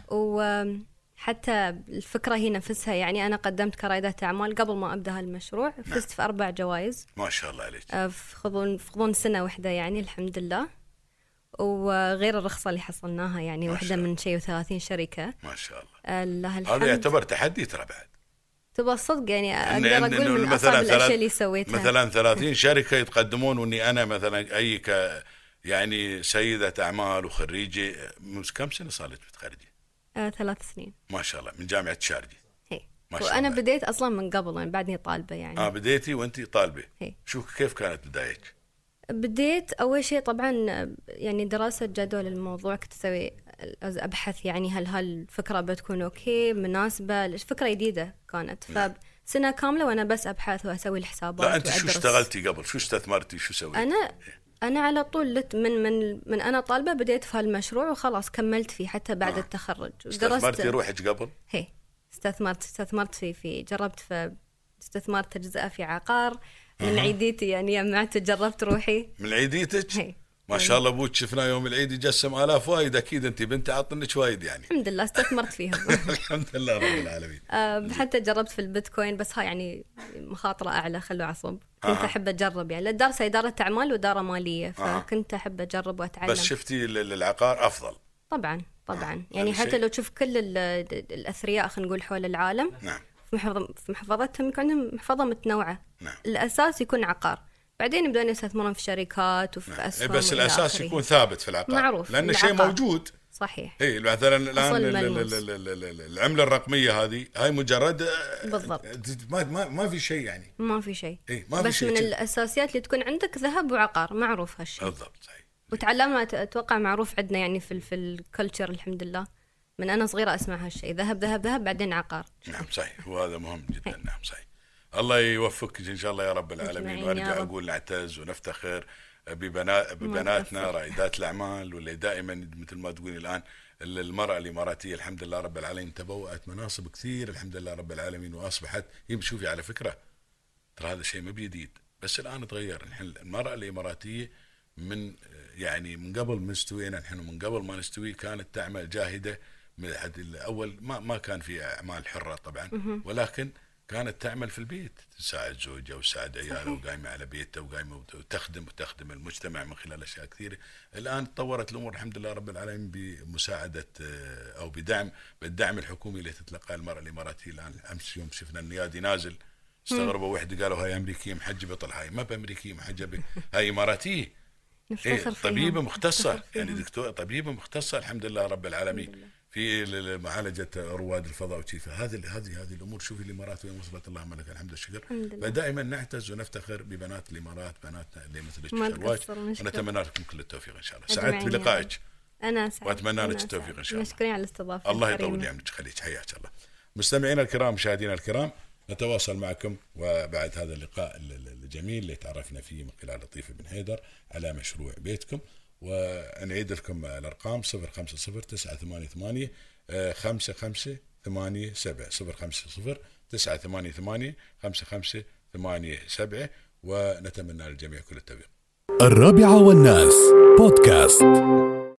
[SPEAKER 3] وحتى الفكرة هي نفسها يعني أنا قدمت كرائدة أعمال قبل ما أبدأ هالمشروع
[SPEAKER 2] نعم.
[SPEAKER 3] فزت في أربع جوائز
[SPEAKER 2] ما شاء الله عليك
[SPEAKER 3] آه، في غضون في غضون سنة واحدة يعني الحمد لله وغير الرخصة اللي حصلناها يعني
[SPEAKER 2] ما
[SPEAKER 3] واحدة
[SPEAKER 2] شاء الله.
[SPEAKER 3] من شيء و30 شركة
[SPEAKER 2] ما شاء الله
[SPEAKER 3] آه، لها الحمد
[SPEAKER 2] هذا يعتبر تحدي ترى بعد
[SPEAKER 3] تبى صدق يعني
[SPEAKER 2] إن-
[SPEAKER 3] أقدر
[SPEAKER 2] إن- إنه
[SPEAKER 3] أقول من أصعب
[SPEAKER 2] ثلاث-
[SPEAKER 3] الأشياء اللي سويتها
[SPEAKER 2] مثلا 30 شركه يتقدمون واني انا مثلا اي ك يعني سيده اعمال وخريجه مس- كم سنه صارت متخرجه؟
[SPEAKER 3] آه، ثلاث سنين
[SPEAKER 2] ما شاء الله من جامعه الشارقه
[SPEAKER 3] هي.
[SPEAKER 2] ما شاء
[SPEAKER 3] وانا
[SPEAKER 2] الله.
[SPEAKER 3] إيه. بديت اصلا من قبل يعني بعدني طالبه يعني
[SPEAKER 2] اه بديتي وانت طالبه
[SPEAKER 3] إيه.
[SPEAKER 2] شو كيف كانت بدايتك؟
[SPEAKER 3] بديت أول شيء طبعا يعني دراسة جدول الموضوع كنت أسوي أبحث يعني هل هالفكرة بتكون أوكي مناسبة ليش فكرة جديدة كانت فسنة كاملة وأنا بس أبحث وأسوي الحسابات
[SPEAKER 2] نعم. لا انت شو
[SPEAKER 3] وأدرس.
[SPEAKER 2] اشتغلتي قبل؟ شو استثمرتي؟ شو سويتي؟
[SPEAKER 3] أنا أنا على طول لت من من من أنا طالبة بديت في هالمشروع وخلاص كملت فيه حتى
[SPEAKER 2] آه.
[SPEAKER 3] بعد التخرج
[SPEAKER 2] استثمرتي روحك قبل؟
[SPEAKER 3] هي استثمرت استثمرت في في جربت في استثمرت تجزئة في عقار من عيديتي يعني جمعت جربت روحي
[SPEAKER 2] من عيديتك؟
[SPEAKER 3] هي.
[SPEAKER 2] ما شاء الله ابوك شفناه يوم العيد يجسم الاف وايد اكيد انت بنت عطنك وايد يعني
[SPEAKER 3] الحمد لله استثمرت فيهم
[SPEAKER 2] الحمد لله رب العالمين
[SPEAKER 3] أم، حتى جربت في البيتكوين بس هاي يعني مخاطرة أعلى خلوا عصب كنت أحب أجرب يعني الدرس إدارة أعمال وإدارة مالية فكنت أحب أجرب وأتعلم
[SPEAKER 2] بس شفتي ال- ال- العقار افضل
[SPEAKER 3] طبعا طبعا يعني
[SPEAKER 2] هذا
[SPEAKER 3] حتى
[SPEAKER 2] شيء.
[SPEAKER 3] لو تشوف كل ال- ال- الأثرياء خلينا نقول حول العالم
[SPEAKER 2] نعم
[SPEAKER 3] في محفظة- في محفظتهم يكون عندهم محفظة متنوعة
[SPEAKER 2] نعم.
[SPEAKER 3] الأساس يكون عقار بعدين يبدون يستثمرون في شركات وفي
[SPEAKER 2] إيه
[SPEAKER 3] أسهم
[SPEAKER 2] بس
[SPEAKER 3] وإلى
[SPEAKER 2] الاساس
[SPEAKER 3] آخره.
[SPEAKER 2] يكون ثابت في العقار
[SPEAKER 3] معروف،
[SPEAKER 2] لان شيء
[SPEAKER 3] العقار.
[SPEAKER 2] موجود
[SPEAKER 3] صحيح
[SPEAKER 2] اي مثلا الان
[SPEAKER 3] أصل
[SPEAKER 2] ال- ال-
[SPEAKER 3] ملموس.
[SPEAKER 2] ال- ال- ال- ال- العمله الرقميه هذه هاي مجرد آه،
[SPEAKER 3] بالضبط.
[SPEAKER 2] ما ما, ما في شيء يعني
[SPEAKER 3] ما في شيء
[SPEAKER 2] إيه، ما في
[SPEAKER 3] بس
[SPEAKER 2] شيء
[SPEAKER 3] من
[SPEAKER 2] كذا.
[SPEAKER 3] الأساسيات اللي تكون عندك ذهب وعقار معروف هالشيء
[SPEAKER 2] بالضبط صحيح
[SPEAKER 3] وتعلمنا أت- اتوقع معروف عندنا يعني في ال- في الكلتشر الحمد لله من انا صغيره اسمع هالشيء ذهب ذهب ذهب بعدين عقار
[SPEAKER 2] نعم صحيح وهذا مهم جدا نعم صحيح الله يوفقك ان شاء الله يا رب العالمين
[SPEAKER 3] إيه. أجمعين
[SPEAKER 2] وارجع
[SPEAKER 3] يا رب.
[SPEAKER 2] اقول نعتز ونفتخر ببنا... ببناتنا رائدات الاعمال واللي دائما مثل ما تقولي الان ال- المراه الاماراتيه الحمد لله رب العالمين تبوأت مناصب كثير الحمد لله رب العالمين واصبحت يم شوفي على فكره ترى هذا شيء ما بجديد بس الان تغير نحن المراه الاماراتيه من يعني من قبل ما استوينا نحن من قبل ما نستوي كانت تعمل جاهده من حد الاول ما ما كان في اعمال حره طبعا ولكن كانت تعمل في البيت تساعد زوجها وتساعد عياله وقايمه على بيتها وقايمه وت- وتخدم وتخدم المجتمع من خلال اشياء كثيره الان تطورت الامور الحمد لله رب العالمين بمساعده آه، او بدعم بالدعم الحكومي اللي تتلقاه المراه الاماراتيه الان امس يوم شفنا النيادي نازل استغربوا وحده قالوا هاي امريكيه محجبه طلع هاي ما بامريكيه محجبه هاي اماراتيه إيه
[SPEAKER 3] نفتخر فيهم.
[SPEAKER 2] طبيبه مختصه
[SPEAKER 3] نفتخر
[SPEAKER 2] يعني
[SPEAKER 3] فيهم.
[SPEAKER 2] دكتور طبيبه مختصه الحمد لله رب العالمين في ال- ال- معالجه رواد الفضاء وشي فهذه ال- هذه هذه الامور شوفي الامارات وين وصلت اللهم لك الحمد والشكر
[SPEAKER 3] الحمد لله.
[SPEAKER 2] فدائما نعتز ونفتخر ببنات الامارات بناتنا اللي مثلك
[SPEAKER 3] ما
[SPEAKER 2] شرواج
[SPEAKER 3] تقصروا، نشكر.
[SPEAKER 2] ونتمنى لكم كل التوفيق ان شاء الله
[SPEAKER 3] أجمعين
[SPEAKER 2] سعدت
[SPEAKER 3] يا رب.
[SPEAKER 2] بلقائك
[SPEAKER 3] انا سعيد
[SPEAKER 2] وأتمنى
[SPEAKER 3] أنا
[SPEAKER 2] لك التوفيق
[SPEAKER 3] سعيد.
[SPEAKER 2] إن شاء الله.
[SPEAKER 3] مشكورين على الاستضافه
[SPEAKER 2] الله
[SPEAKER 3] الكريمة.
[SPEAKER 2] يطول عمرك خليك حياك الله مستمعينا الكرام مشاهدينا الكرام نتواصل معكم وبعد هذا اللقاء ال- ال- الجميل اللي تعرفنا فيه من خلال لطيف بن حيدر على مشروع بيتكم ونعيد لكم الارقام 050 988 5587 050 988 5587 ونتمنى للجميع كل التوفيق
[SPEAKER 1] الرابعة والناس بودكاست